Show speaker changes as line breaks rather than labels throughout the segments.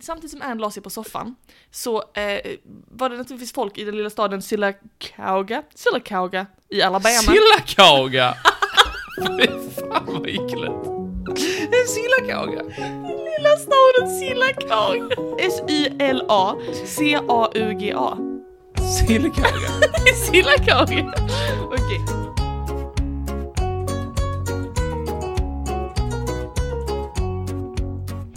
samtidigt som Anne la sig på soffan så eh, var det naturligtvis folk i den lilla staden Sylacauga, Sylacauga i Alabama.
Sillakauga! Fy fan vad äckligt. En sillakauga.
lilla staden Sylacauga. S-Y-L-A-C-A-U-G-A.
Sillakauga.
Det är Sylacauga. Okej.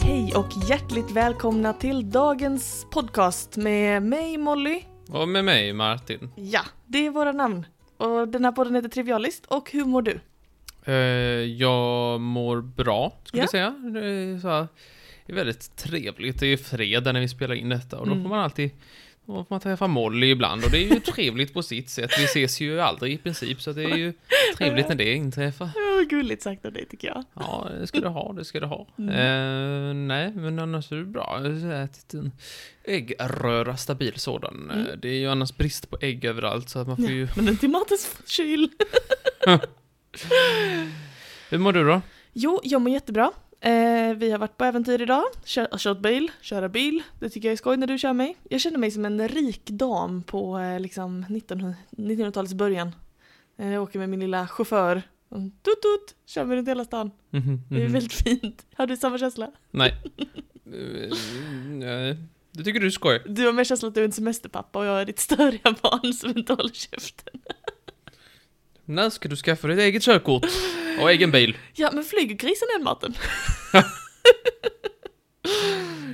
Hej och hjärtligt välkomna till dagens podcast med mig Molly.
Och med mig Martin.
Ja, det är våra namn. Och den här podden heter Trivialist och hur mår du?
Eh, jag mår bra, skulle
Ja.
jag säga. Det är, så här, det är väldigt trevligt. Det är ju fredag när vi spelar in detta och då
Mm.
får man alltid då får man träffa Molly ibland och det är ju trevligt på sitt sätt. Vi ses ju aldrig i princip så det är ju trevligt när det inträffar.
Oh, gulligt sagt av dig tycker jag.
Ja, det ska du ha, det ska du ha.
Mm.
Eh, nej, men annars är det bra. Jag har ätit en äggröra, stabil sådan. Eh,
Mm.
Det är ju annars brist på ägg överallt så att man får ju...
Men den till matens kyl.
Hur mår du då?
Jo, jag mår jättebra. Eh, vi har varit på äventyr idag, Kör, har kört bil, köra bil. Det tycker jag är skoj när du kör mig. Jag känner mig som en rik dam på eh, liksom 1900 1900-talets början. Eh, jag åker med min lilla chaufför. Tut tut, kör mig runt hela stan.
Mhm,
Det är
mhm.
väldigt fint. Har du samma känsla?
Nej. Eh, nej. Det tycker du är skoj.
Du har mer känsla att du är en semesterpappa och jag är ditt störiga barn som inte håller käften.
När ska du skaffa dig ett eget körkort? Och egen bil?
Ja, men flyger grisen än maten?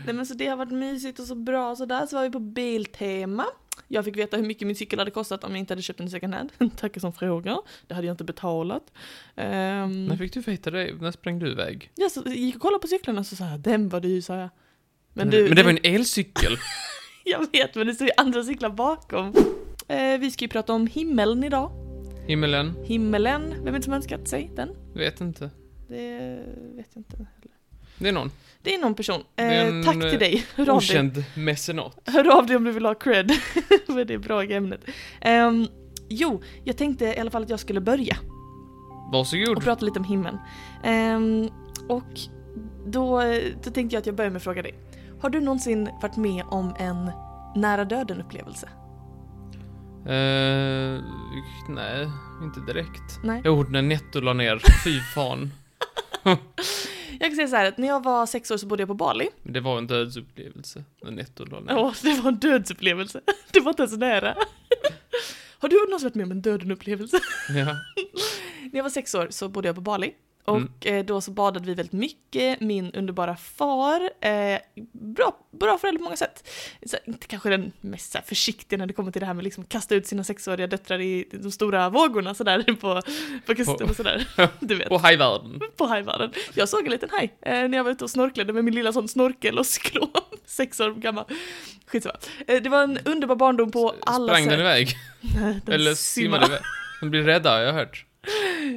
Nej men så det har varit mysigt och så bra och sådär. Så var vi på Biltema. Jag fick veta hur mycket min cykel hade kostat om jag inte hade köpt den i second hand. Tackar som frågar. Det hade jag inte betalat. Ehm,
När fick du veta det? När sprang du iväg?
ja, så jag gick och kollade på cyklarna så sa jag den var dyr sa jag. Men,
Men,
du,
det var ju en elcykel.
Jag vet men det står ju andra cyklar bakom. Eh, vi ska ju prata om himmeln idag.
Himmelen?
Himmelen, vem är det som önskat sig den?
Vet inte.
Det vet jag inte heller.
Det är någon.
Det är någon person. Eh,
är en,
tack till
eh,
dig. Hör av, dig.
Okänd mecenat.
Hör av dig om du vill ha cred. För det är bra i ämnet. Ehm, jo, jag tänkte i alla fall att jag skulle börja och
Varsågod.
prata lite om himlen. Ehm, och då, då tänkte jag att jag börjar med att fråga dig. Har du någonsin varit med om en nära döden upplevelse?
Eh, nej, inte direkt.
Nej.
Jo, när Netto la ner, fy fan.
Jag kan säga så här att när jag var sex år så bodde jag på Bali.
Men det var en dödsupplevelse när Netto la ner.
Åh, det var en dödsupplevelse. Det var inte ens nära. Har du någonsin varit med om en döden-upplevelse?
Ja.
När jag var sex år så bodde jag på Bali.
Mm.
Och eh, då så badade vi väldigt mycket, min underbara far, eh, bra, bra förälder på många sätt. Så, inte kanske den mest så här, försiktiga när det kommer till det här med liksom kasta ut sina sexåriga döttrar i de stora vågorna sådär på, på kusten och sådär. Du vet,
På hajvärlden.
på hajvärlden. Jag såg en liten haj eh, när jag var ute och snorklade med min lilla sån snorkel och skrå, sex år gammal. Skitsamma. Eh, det var en underbar barndom på alla
Sprang
sätt.
den iväg?
Nej, den
Eller
simmade.
simmade iväg? De blir rädda, har jag hört.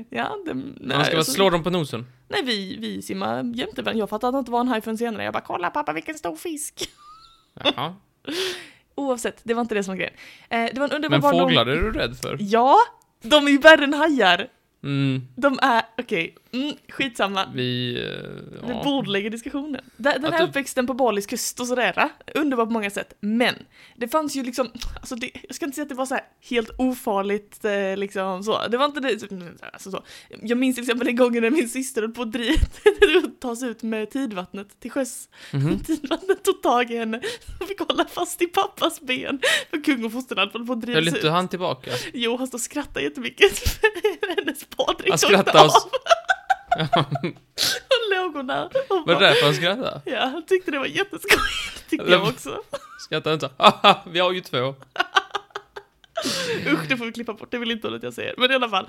Ja, den,
Man ska
nej, alltså
bara
så-
slå dem på nosen.
Nej, vi, vi simmar jämte varandra. Jag fattade inte vad en haj förrän senare. Jag bara kolla pappa vilken stor fisk.
Jaha.
Oavsett, det var inte det som var grejen. Eh, det var en underbar
Men
barndom.
fåglar är du rädd för?
Ja, de är ju värre än hajar.
Mm,
De är, okej, mm, skitsamma.
vi... eh,
Vi
ja.
bordlägger diskussionen. Den, den
Att
här
du-
uppväxten på Balis kust och sådär, eh, underbar på många sätt. Men det fanns ju liksom, alltså det, jag ska inte säga att det var så här helt ofarligt eh, liksom så. Det var inte det, alltså så. Jag minns till exempel den gången när min syster höll på att dri- ta sig ut med tidvattnet till sjöss.
Mhm.
Tidvattnet tog tag i henne och fick hålla fast i pappas ben. För kung och fosterland höll på att driva
Höll
sig
inte
ut.
han tillbaka?
Jo, han stod och skrattade jättemycket. för Hennes baddräkt
Han
tog inte
skrattade
av.
och s-
Och låg hon där. och
Var
bara-
det därför han skrattade?
Ja, han tyckte det var jätteskojigt. Tyckte jag också.
Skrattade inte? Haha, vi har ju två.
Usch, det får vi klippa bort. Det vill inte hon att jag säger. Men i alla fall.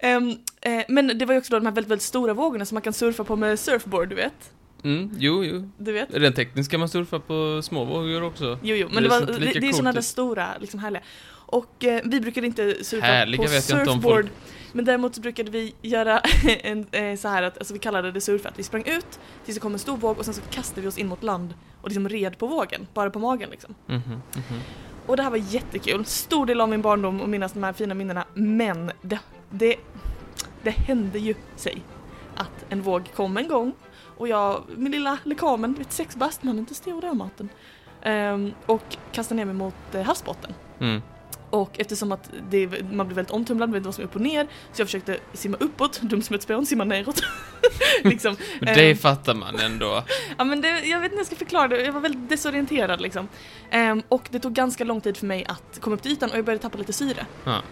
Ehm, eh, men det var ju också då de här väldigt, väldigt stora vågorna som man kan surfa på med surfboard, du vet.
Mm, jo, jo.
Du vet.
Rent tekniskt kan man surfa på små vågor också.
Jo, jo, men
Men
det,
det är
var,
inte
det,
lika
det är
coolt typ.
sådana där
ut.
stora, liksom härliga. Och eh, vi brukade inte surfa
Härliga
på
vet jag
surfboard.
inte om
Men däremot så brukade vi göra en, eh, så här att, alltså vi kallade det surf, att vi sprang ut tills det kom en stor våg och sen så kastade vi oss in mot land och liksom red på vågen, bara på magen liksom.
Mhm, mhm.
Och det här var jättekul. Stor del av min barndom och minnas de här fina minnena. Men det, det, det hände ju sig att en våg kom en gång Och jag, min lilla lekamen, vet sex bast, man är inte stor där maten. Ehm, och kastade ner mig mot eh, havsbotten.
Mm.
Och eftersom att det, man blir väldigt omtumlad, man vet inte vad som är upp och ner, så jag försökte simma uppåt, dum som ett spån, simma neråt. liksom.
Det
Ehm,
fattar man ändå.
Ja, men det, jag vet inte hur jag ska förklara det, jag var väldigt desorienterad liksom. Ehm, och det tog ganska lång tid för mig att komma upp till ytan och jag började tappa lite syre.
Ja.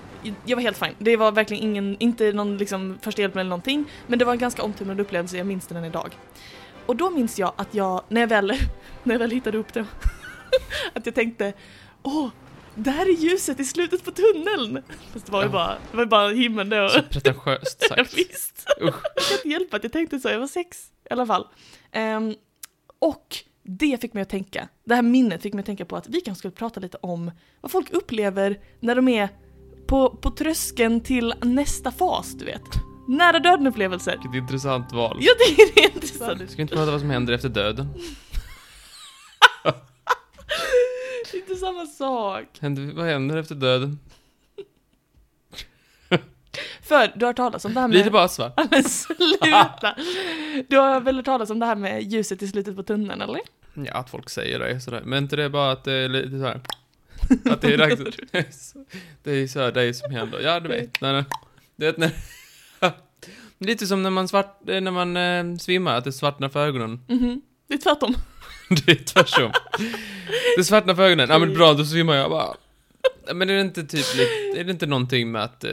Jag var helt fine. Det var verkligen ingen, inte någon liksom första hjälpen eller någonting, men det var en ganska omtumlande upplevelse, jag minns den än idag. Och då minns jag att jag, när jag väl, när jag väl hittade upp det, att jag tänkte Åh, där är ljuset i slutet på tunneln! Fast det var ju
Ja.
bara, det var ju bara himlen då.
Så pretentiöst
Jag
sagt.
visst.
Usch.
Jag kan inte hjälpa att jag tänkte så, jag var sex i alla fall. Ehm, och det fick mig att tänka, det här minnet fick mig att tänka på att vi kanske skulle prata lite om vad folk upplever när de är på, på tröskeln till nästa fas, du vet. Nära döden-upplevelser.
Vilket intressant val.
Jag tycker det är intressant.
Ska vi inte prata vad som händer efter döden?
Det är inte samma sak.
Händer, vad händer efter döden?
För du har hört talas om det här med...
Blir det bara svart?
Ja, men sluta! Du har väl hört talas om det här med ljuset i slutet på tunneln, eller?
Ja, att folk säger det sådär. Men inte det är bara att det är lite såhär... Att det är dags... Det är såhär det är som händer. Ja, du vet. När, du vet när... Lite som när man svart... eh, När man eh, svimmar, att det svartnar för ögonen.
Mhm. Det är tvärtom.
Det är tvärtom. Det svartnar för ögonen. Ja, men bra, då svimmar jag bara. Ja, Men är det inte typ lite- Är det inte någonting med att eh,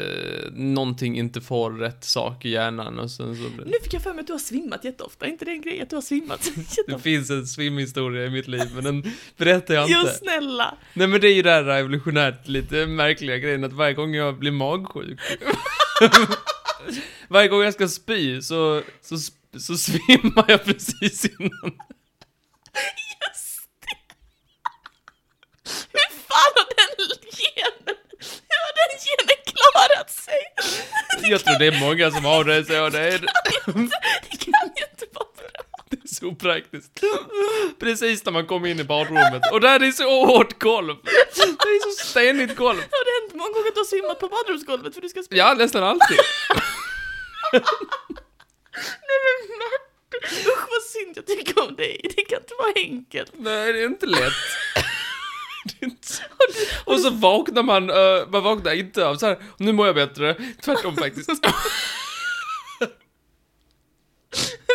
någonting inte får rätt sak i hjärnan och sen så...
Nu fick jag för mig att du har svimmat jätteofta, är inte det en grej att du har svimmat
Det
jätteofta?
finns en svimhistoria i mitt liv, men den berättar jag inte.
Jo snälla!
Nej men det är ju det här revolutionärt lite märkliga grejen att varje gång jag blir magsjuk Varje gång jag ska spy så, så, sp- så svimmar jag precis innan
Just det! Hur fan har den genen, hur har den genen klarat sig? Det
Jag tror det är många som har det så det är,
kan inte, det kan ju inte vara bra!
det är så praktiskt Precis när man kommer in i badrummet och där är så hårt golv Det är så stenigt golv
Har det hänt många gånger att du har svimmat på badrumsgolvet för du ska spy?
Ja, nästan alltid
Nej men Martin! Usch vad synd jag tycker om dig, det kan inte vara enkelt!
Nej, det är inte lätt. Det är inte så- Och så vaknar man, eh, man vaknar inte av så här, nu mår jag bättre. Tvärtom faktiskt.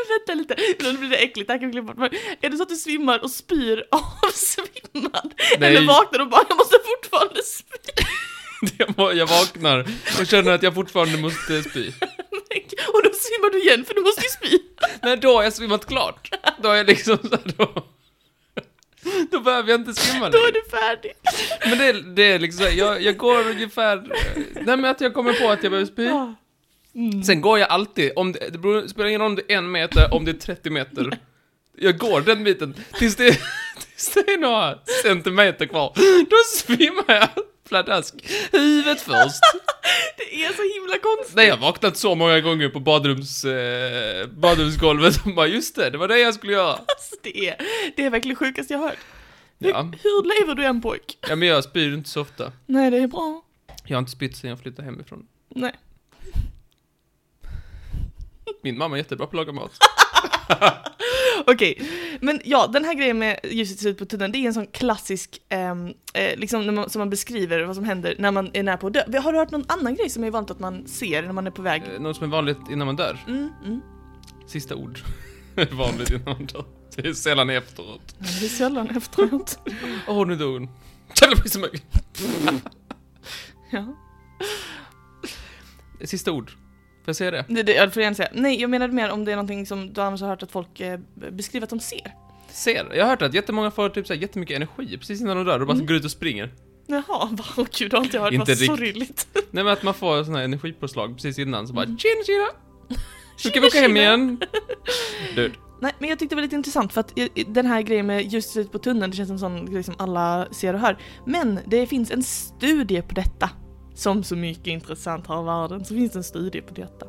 Vänta lite, nu blir det äckligt, det här kan vi glömma bort. Men Är det så att du svimmar och spyr avsvimmad?
Nej.
Eller vaknar och bara jag måste fortfarande spy?
Jag må- Jag vaknar och känner att jag fortfarande måste spy.
Och då svimmar du igen för du måste ju spy.
Nej, då har jag svimmat klart. Då har jag liksom så här, då... Då behöver jag inte svimma
Då är
längre.
du färdig.
Men det, är- det är liksom, så här, jag, jag går ungefär... eh, Nej men att jag kommer på att jag behöver spy.
Ja. Mm.
Sen går jag alltid, om det, det beror, spelar ingen roll om det är en meter, om det är 30 meter. Jag går den biten tills det, tills det är några centimeter kvar. Då svimmar jag pladask. Huvudet först.
Det är så himla konstigt.
Nej, jag har vaknat så många gånger på badrums, eh, badrumsgolvet och bara just det, det var det jag skulle göra.
Alltså, det, är, det är verkligen sjukast jag har hört. Hur,
Ja.
hur lever du en pojk?
Ja, men jag spyr inte så ofta.
Nej det är bra.
Jag har inte spytt sen jag flyttade hemifrån.
Nej.
Min mamma är jättebra på att laga mat.
Okej, men ja, den här grejen med ljuset i slutet på tunneln, det är en sån klassisk, ehm, eh, liksom när man, som man beskriver vad som händer när man är nära på att dö. Har du hört någon annan grej som är vanligt att man ser när man är på väg?
Eh, Något som är vanligt innan man dör.
Mm, mm.
Sista ord. Är vanligt innan man dör. Det är sällan efteråt.
Men Det är sällan efteråt.
Åh, nu dog hon. Jävlar mig så mycket.
ja.
Sista ord. Får jag säga det?
det, det, jag får gärna säga. Nej, jag menade mer om det är någonting som du annars har hört att folk eh, beskriver att de ser.
Ser. Jag har hört att jättemånga får typ så här jättemycket energi precis innan de dör och bara
Mm.
går ut och springer.
Jaha, va? Åh gud, det har inte jag hört.
Inte
Vad
riktigt.
sorgligt.
Nej men att man får sån här energipåslag precis innan så bara
Mm.
tjena tjena! Nu kan vi åka hem
Tjena,
igen! Dude.
Nej, men jag tyckte det var lite intressant för att i- i- den här grejen med ljuset ut på tunneln, det känns som sån grej som alla ser och hör. Men det finns en studie på detta. Som så mycket intressant har i världen så finns det en studie på detta.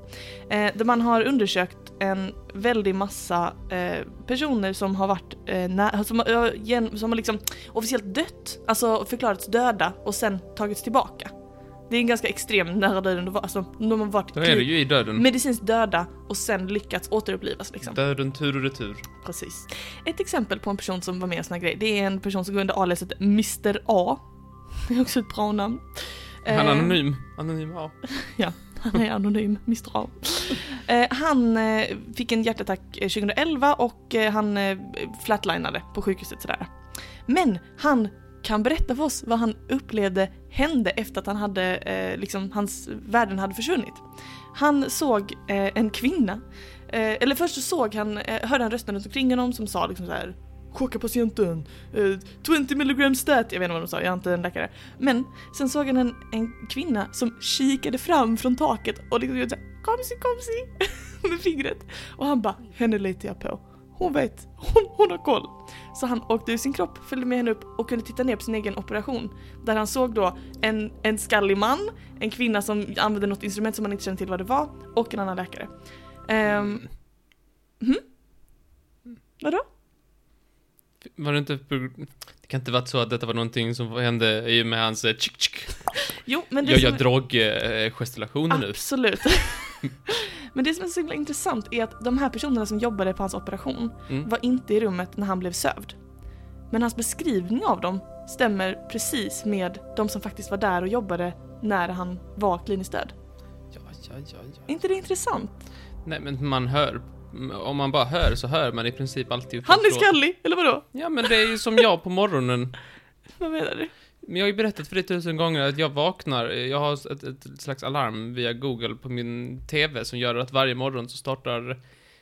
Eh, där man har undersökt en väldig massa eh, personer som har varit eh, nä- som, har, eh, gen- som har liksom officiellt dött, alltså förklarats döda och sen tagits tillbaka. Det är en ganska extrem nära döden, att vara. alltså, de har varit
Då är det ju i döden.
medicinskt döda och sen lyckats återupplivas liksom.
Döden tur och retur.
Precis. Ett exempel på en person som var med i en sån här grej, det är en person som går under aliaset Mr A. Det är också ett bra namn.
Han är
Eh,
anonym. Anonym, ja.
Han är anonym, Mr A. Eh, han eh, fick en hjärtattack eh, 2011 och eh, han eh, flatlinade på sjukhuset sådär. Men han kan berätta för oss vad han upplevde hände efter att han hade, eh, liksom, hans värden hade försvunnit. Han såg eh, en kvinna, eh, eller först så såg han, eh, hörde han rösten runt omkring honom som sa liksom så här Chocka patienten, eh, 20 milligram stat, jag vet inte vad de sa, jag är inte en läkare. Men sen såg han en, en kvinna som kikade fram från taket och liksom gjorde såhär komsi komsi med fingret. Och han bara, henne litar jag på. Hon vet, hon, hon har koll. Så han åkte ur sin kropp, följde med henne upp och kunde titta ner på sin egen operation. Där han såg då en, en skallig man, en kvinna som använde något instrument som han inte kände till vad det var och en annan läkare. Um, mhm. Vadå?
Var det inte... Det kan inte varit så att detta var någonting som hände i och med hans... eh, Tsk, tsk.
Jo, men det
Jag
som-
gör droggesticulationer nu.
Absolut. Men det som är så himla intressant är att de här personerna som jobbade på hans operation
Mm.
var inte i rummet när han blev sövd. Men hans beskrivning av dem stämmer precis med de som faktiskt var där och jobbade när han var kliniskt död.
Ja, ja, ja,
Är
ja.
inte det intressant?
Nej, men man hör... Om man bara hör så hör man i princip alltid.
Han är
Från-
skallig, eller vadå?
Ja, men det är ju som jag på morgonen.
Vad menar du?
Men jag har ju berättat för dig tusen gånger att jag vaknar, jag har ett, ett slags alarm via Google på min TV som gör att varje morgon så startar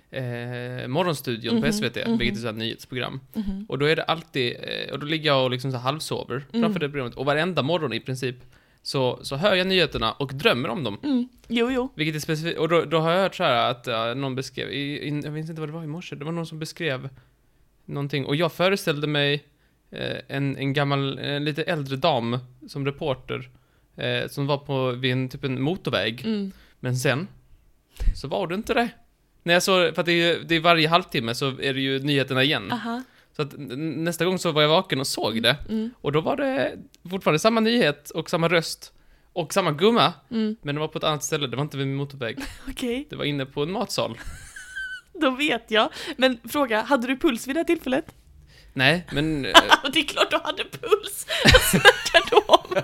eh, Morgonstudion
Mhm,
på SVT,
mhm.
vilket är så här nyhetsprogram.
Mhm.
Och då är det alltid, eh, och då ligger jag och liksom så här halvsover
Mm.
framför det programmet och varenda morgon i princip så, så hör jag nyheterna och drömmer om dem.
Mm. Jo, jo.
Vilket är specifikt, och då, då har jag hört så här att eh, någon beskrev, i, i, jag minns inte vad det var i morse, det var någon som beskrev någonting, och jag föreställde mig eh, en, en gammal, en lite äldre dam som reporter, eh, som var på, vid en, typ en motorväg,
Mm.
men sen så var det inte det. När jag såg, för att det är, ju- det är varje halvtimme så är det ju nyheterna igen.
Aha.
Så att n- nästa gång så var jag vaken och såg det,
Ah. Mm.
och då var det fortfarande samma nyhet och samma röst, och samma gumma,
Mm.
men det var på ett annat ställe, det var inte vid en motorväg.
Okej,
Det var inne på en matsal.
då vet jag. Men fråga, hade du puls vid det här tillfället?
Nej, men eh,
Och det är klart du hade puls! Vad snackar du om?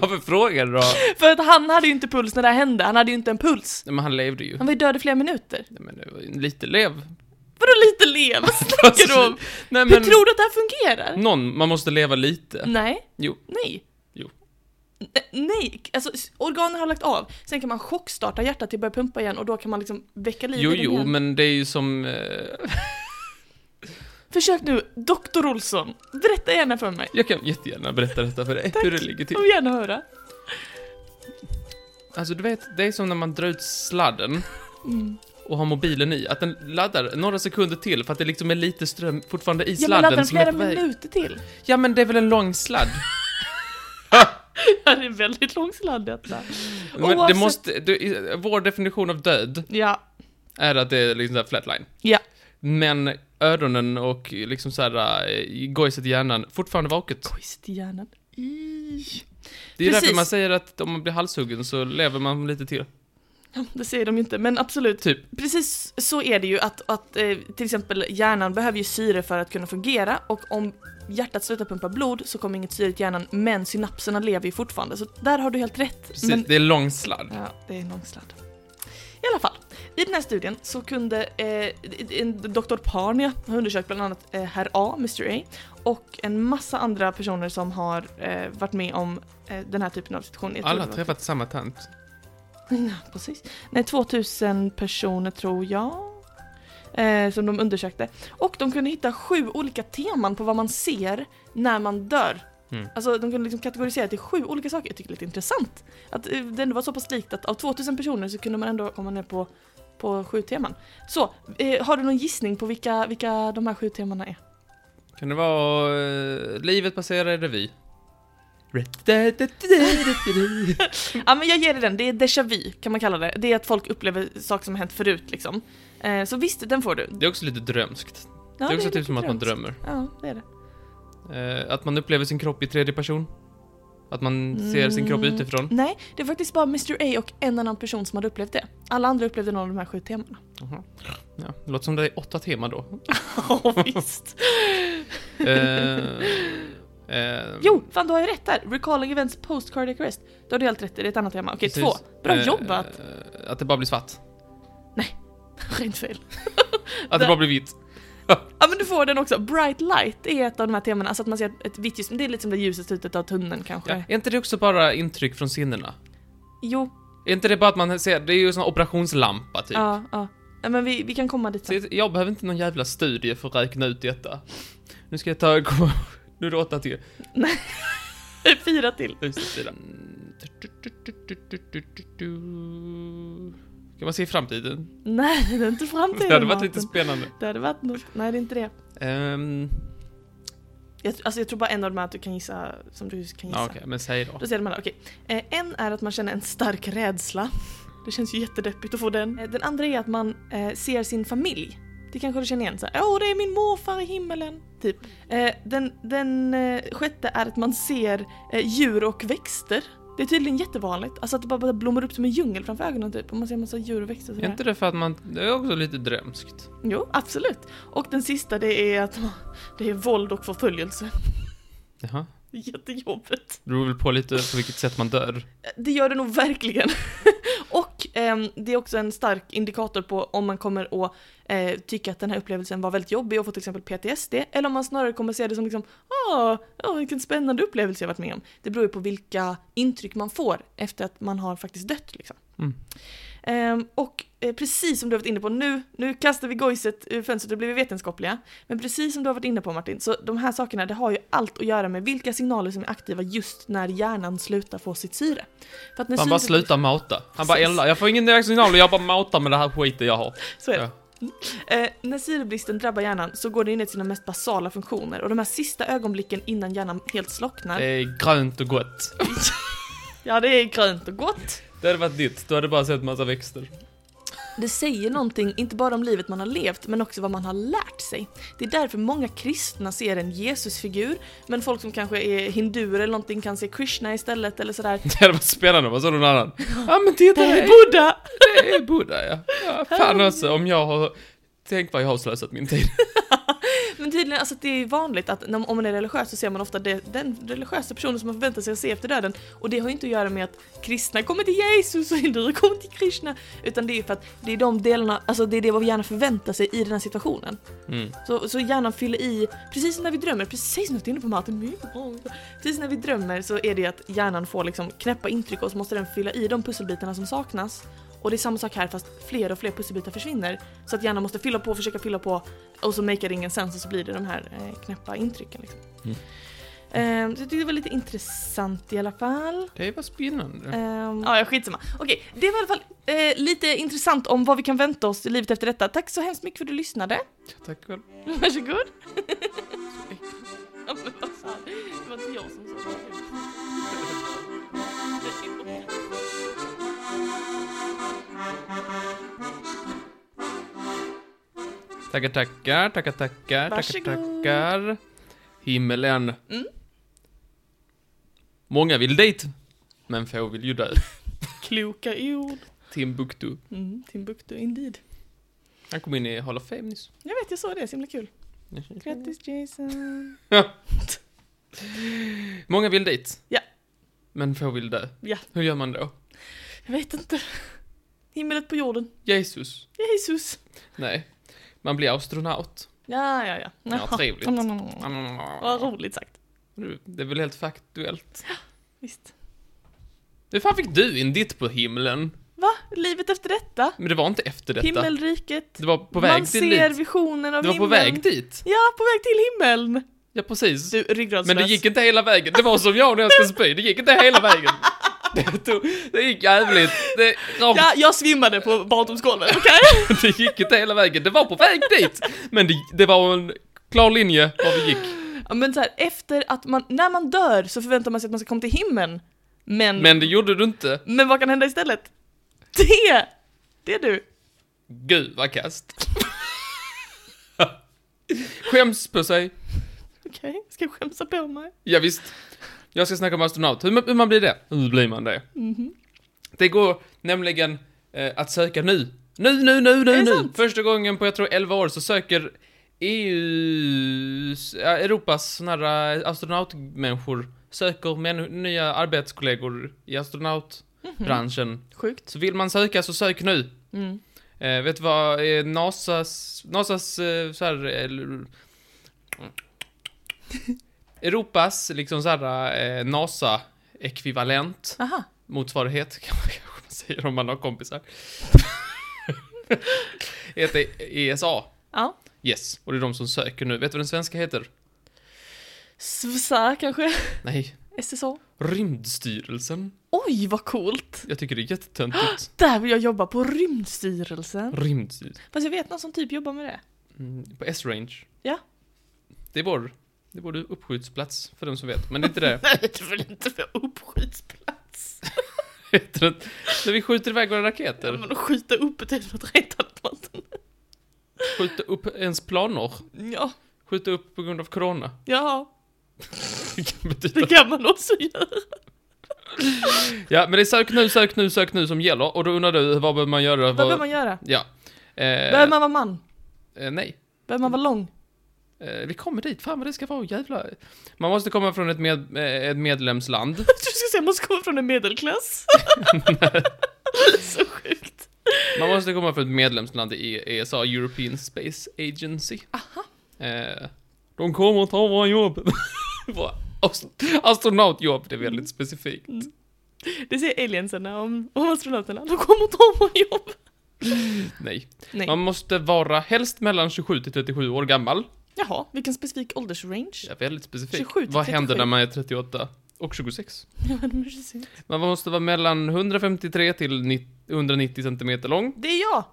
varför frågar du då?
För att han hade ju inte puls när det här hände, han hade ju inte en puls.
Nej, men han levde ju.
Han var ju död i flera minuter.
Nej, men det var ju lite lev.
Vadå lite lev? Vad snackar du om?
Nej, Alltså, men
Hur tror du att det här fungerar?
någon, man måste leva lite.
Nej.
Jo.
Nej.
Jo.
N- Nej, alltså s- organen har lagt av. Sen kan man chockstarta hjärtat till att börja pumpa igen och då kan man liksom väcka liv
Jo,
i den
jo,
igen.
men det är ju som... Eh,
Försök nu, Dr. Olsson. Berätta gärna för mig.
jag kan jättegärna berätta detta för dig, hur det ligger till.
Jag vill gärna höra.
Alltså, du vet, det är som när man drar ut sladden
Mm.
och har mobilen i, att den laddar några sekunder till för att det liksom är lite ström fortfarande i
Ja, men laddar
sladden
den
som är
flera
på väg.
minuter till?
Ja, men det är väl en lång sladd?
Ja, det är väldigt långsamt detta.
Men det
Oavsett-
måste, du, vår definition av död
Ja.
är att det är liksom så här flatline.
Ja.
Men öronen och liksom så här eh, gojset i hjärnan, fortfarande vaket.
Kojst i hjärnan. I.
Det är
Precis.
därför man säger att om man blir halshuggen så lever man lite till.
Det säger de ju inte, men absolut.
Typ.
Precis så är det ju att, att eh, till exempel hjärnan behöver ju syre för att kunna fungera och om hjärtat slutar pumpa blod så kommer inget syre till hjärnan men synapserna lever ju fortfarande så där har du helt rätt.
Precis,
Men,
det är lång sladd.
ja, det är en lång sladd. I alla fall, i den här studien så kunde eh, en Dr. Parnia ha undersökt bland annat eh, herr A, Mr A och en massa andra personer som har eh, varit med om eh, den här typen av situation. Jag tror
Alla
det
har
var-
träffat samma tant.
Ja, precis. Nej, 2000 personer tror jag. Eh, som de undersökte. Och de kunde hitta sju olika teman på vad man ser när man dör.
Mm.
Alltså de kunde liksom kategorisera till sju olika saker. Jag tycker det är lite intressant. Att eh, det ändå var så pass likt att av 2000 personer så kunde man ändå komma ner på, på sju teman. Så, eh, har du någon gissning på vilka, vilka de här sju temana är?
Kan det vara eh, livet passerar i revy?
Ja men jag ger dig den, det är déjà vu kan man kalla det. Det är att folk upplever saker som har hänt förut liksom. Eh, så visst, den får du.
Det är också lite drömskt.
Ja,
det är också
lite
typ som att man
drömskt.
drömmer.
Ja, det är det.
Eh, att man upplever sin kropp i tredje person. Att man ser sin kropp
Mm.
utifrån?
Nej, det är faktiskt bara Mr A och en annan person som hade upplevt det. Alla andra upplevde någon av de här sju temana.
Jaha. Ja, det låter som det är åtta teman då.
Ja, visst.
eh, eh,
Jo, fan du har ju rätt där. Recalling events post cardiac arrest. Då har du helt rätt, det är ett annat tema. Okej,
precis.
två. Bra
Eh,
jobbat!
Att det bara blir svart. eh.
Rent fel.
Att det
Där.
bara blir vitt.
Ja men du får den också. Bright light är ett av de här temana, alltså att man ser ett vitt ljus. Det är lite som det ljuset i slutet av tunneln kanske.
Ja. Är inte det också bara intryck från sinnena?
Jo,
Är inte det bara att man ser, det är ju en sån här operationslampa typ.
ja, ja. Ja, men vi, vi kan komma dit
Så
sen.
jag- jag behöver inte någon jävla studie för att räkna ut detta. Nu ska jag ta, gå, nu är det åtta till.
Fyra till.
Utsida. Mm. Kan man se i framtiden?
Nej, det är inte framtiden.
Det hade varit
Martin.
lite spännande.
Det hade varit något. Nej, det är inte det.
Um,
Jag, alltså jag tror bara en av de här att du kan gissa, som du kan gissa.
ja, Okej, men säg då.
Då säger de alla, okej. Eh, en är att man känner en stark rädsla. Det känns ju jättedeppigt att få den. Eh, den andra är att man eh, ser sin familj. Det kanske du känner igen såhär, åh det är min morfar i himmelen. Typ. Eh, den den eh, sjätte är att man ser eh, djur och växter. Det är tydligen jättevanligt. Alltså att det bara, bara blommar upp som en djungel framför ögonen typ. Och man ser en massa djur och växter. och
Är
sådär.
inte det för att man, det är också lite drömskt.
Jo, absolut. Och den sista det är att det är våld och förföljelse.
Jaha.
Det är Jättejobbigt. Eh,
Det beror väl på lite på vilket sätt man dör.
Det gör det nog verkligen. och ehm, det är också en stark indikator på om man kommer att eh, tycka att den här upplevelsen var väldigt jobbig och få till exempel PTSD, eller om man snarare kommer se det som liksom ah, ja, vilken spännande upplevelse jag varit med om. Det beror ju på vilka intryck man får efter att man har faktiskt dött liksom.
Mm.
Ehm, och eh, precis som du har varit inne på nu, nu kastar vi gojset ur fönstret och blir vi vetenskapliga. Men precis som du har varit inne på Martin, så de här sakerna det har ju allt att göra med vilka signaler som är aktiva just när hjärnan slutar få sitt syre. För att när
Han bara
syret-
slutar mauta. Han bara
Precis.
eldar. Jag får ingen direkt signal och jag bara mautar med det här skiten jag har.
Så är det.
Ja.
Eh, när syrebristen drabbar hjärnan så går den in i sina mest basala funktioner och de här sista ögonblicken innan hjärnan helt slocknar.
Det är grönt och gott.
Ja, det är grönt och gott.
Det hade varit ditt. Du hade bara sett massa växter.
Det säger någonting, inte bara om livet man har levt, men också vad man har lärt sig. Det är därför många kristna ser en Jesusfigur, men folk som kanske är hinduer eller någonting kan se Krishna istället eller sådär.
Det hade varit spännande. Vad sa någon annan? Ja men titta,
Det
det
är
är
Buddha!
det är Buddha ja. ja. Fan också om jag har... Tänk vad jag har slösat min tid.
Men tydligen, alltså det är vanligt att när, om man är religiös så ser man ofta det, den religiösa personen som man förväntar sig att se efter döden. Och det har ju inte att göra med att kristna kommer till Jesus och hinduer kommer till Krishna. Utan det är ju för att det är de delarna, alltså det är det vad hjärnan förväntar sig i den här situationen.
Mm.
Så, så hjärnan fyller i, precis som när vi drömmer, precis som du är inne på Martin, mycket bra. precis när vi drömmer så är det att hjärnan får liksom knäppa intryck och så måste den fylla i de pusselbitarna som saknas. Och det är samma sak här fast fler och fler pusselbitar försvinner. Så att hjärnan måste fylla på, försöka fylla på och så makear det ingen sens och så blir det de här eh, knäppa intrycken liksom.
Mm.
Ehm, så jag tyckte det var lite intressant i alla fall.
Det var spännande.
Ehm, ja, ja, skitsamma. Okej, det var i alla fall eh, lite intressant om vad vi kan vänta oss i livet efter detta. Tack så hemskt mycket för att du lyssnade.
Tack själv.
Varsågod. Ja, men vad fan. Det var inte jag som sa det.
Tackar, tackar, tackar, tackar, tackar,
Varsågod.
tackar. Himmelen.
Mm.
Många vill dit, men få vill ju dö.
Kloka ord.
Timbuktu.
Mm, Timbuktu, indeed.
Han kom in i Hall of Fame nyss.
Jag vet, jag såg det. Så himla kul. Grattis Jason.
Många vill dit.
Ja.
Men få vill dö.
Ja.
Hur gör man då?
Jag vet inte. Himmelet på jorden.
Jesus.
Jesus.
Nej. Man blir astronaut.
Ja, ja, ja.
Ja, trevligt.
Mm, mm, mm, mm. Vad roligt sagt.
Du, Det är väl helt faktuellt.
Visst.
Hur fan fick du in ditt på himlen?
Va? Livet efter detta?
Men det var inte efter detta.
Himmelriket.
Det var på väg
Man
till
ser
dit.
visionen av
Det var på
himlen.
väg dit.
Ja, på väg till himmeln.
Ja, precis.
Du, ryggradslös.
Men det gick inte hela vägen. Det var som jag när jag ska spy. Det gick inte hela vägen. Det, tog, det gick jävligt. Det, rakt
Ja, jag svimmade på barndomsgolvet, okej?
Det gick inte hela vägen, det var på väg dit! Men det, det var en klar linje var vi gick.
Ja, men så här, efter att man, när man dör så förväntar man sig att man ska komma till himlen. Men, men,
Men det gjorde du inte.
vad kan hända istället? Det! Det är du.
Gud vad kast. Skäms på sig.
Okej, ska jag skämsa på mig?
Ja, visst. Jag ska snacka om astronaut. Hur, hur man blir det? Hur blir man det?
Mhm.
Det går nämligen eh, att söka nu. Nu, nu, nu,
Är
nu,
det
nu!
sant?
Första gången på, jag tror, 11 år så söker EUs, ja, Europas sådana här eh, astronautmänniskor söker män, nya arbetskollegor i astronautbranschen.
Sjukt.
Så vill man söka så sök nu.
Mm.
Eh, vet du vad eh, Nasas, Nasas eh, så här, eh, l- Europas liksom så här eh, NASA-ekvivalent,
Aha.
motsvarighet kan man kanske säga om man har kompisar. heter ESA.
Ja.
Yes, och det är de som söker nu. Vet du vad den svenska heter?
Svsa kanske?
Nej,
SSA?
Rymdstyrelsen.
Oj, vad coolt!
Jag tycker det är jättetöntigt.
Där vill jag jobba, på Rymdstyrelsen.
Rymdstyrelsen.
Fast jag vet någon som typ jobbar med det.
Mm, på S-range.
Ja.
Det är vår, det är vår uppskjutsplats för den som vet, men det är inte det.
Nej, det är väl inte för uppskjutsplats?
Heter det inte? När vi skjuter iväg våra raketer,
Ja, men att skjuta upp ett helt retande vatten.
skjuta upp ens planer,
Ja,
skjuta upp på grund av corona.
ja,
Det kan betyda-
det kan man också göra.
ja, men det är sök nu, sök nu, sök nu som gäller, och då undrar du, vad behöver man göra?
Vad behöver man göra?
Ja. Eh,
Behöver man vara man?
eh, nej.
Behöver man vara lång?
Eh, vi kommer dit, fan vad det ska vara, jävlar. Man måste komma från ett, med, eh, ett medlemsland.
Du ska säga att man ska komma från en medelklass. Så sjukt.
Man måste komma från ett medlemsland i ESA, European Space Agency. Aha. Eh, de kommer att ta våra jobb. Våra ast- Astronautjobb, det är väldigt
Mm.
specifikt.
Det säger aliensarna om, om astronauterna. De kommer att ta våra jobb.
Nej.
Nej.
Man måste vara helst mellan 27 till 37 år gammal.
Jaha, vilken specifik åldersrange?
Ja, väldigt specifikt.
27 till
Vad händer
37?
när man är 38 och 26?
Ja, men det är precis.
Man måste vara mellan 153 till ni- 190 centimeter lång.
Det är jag!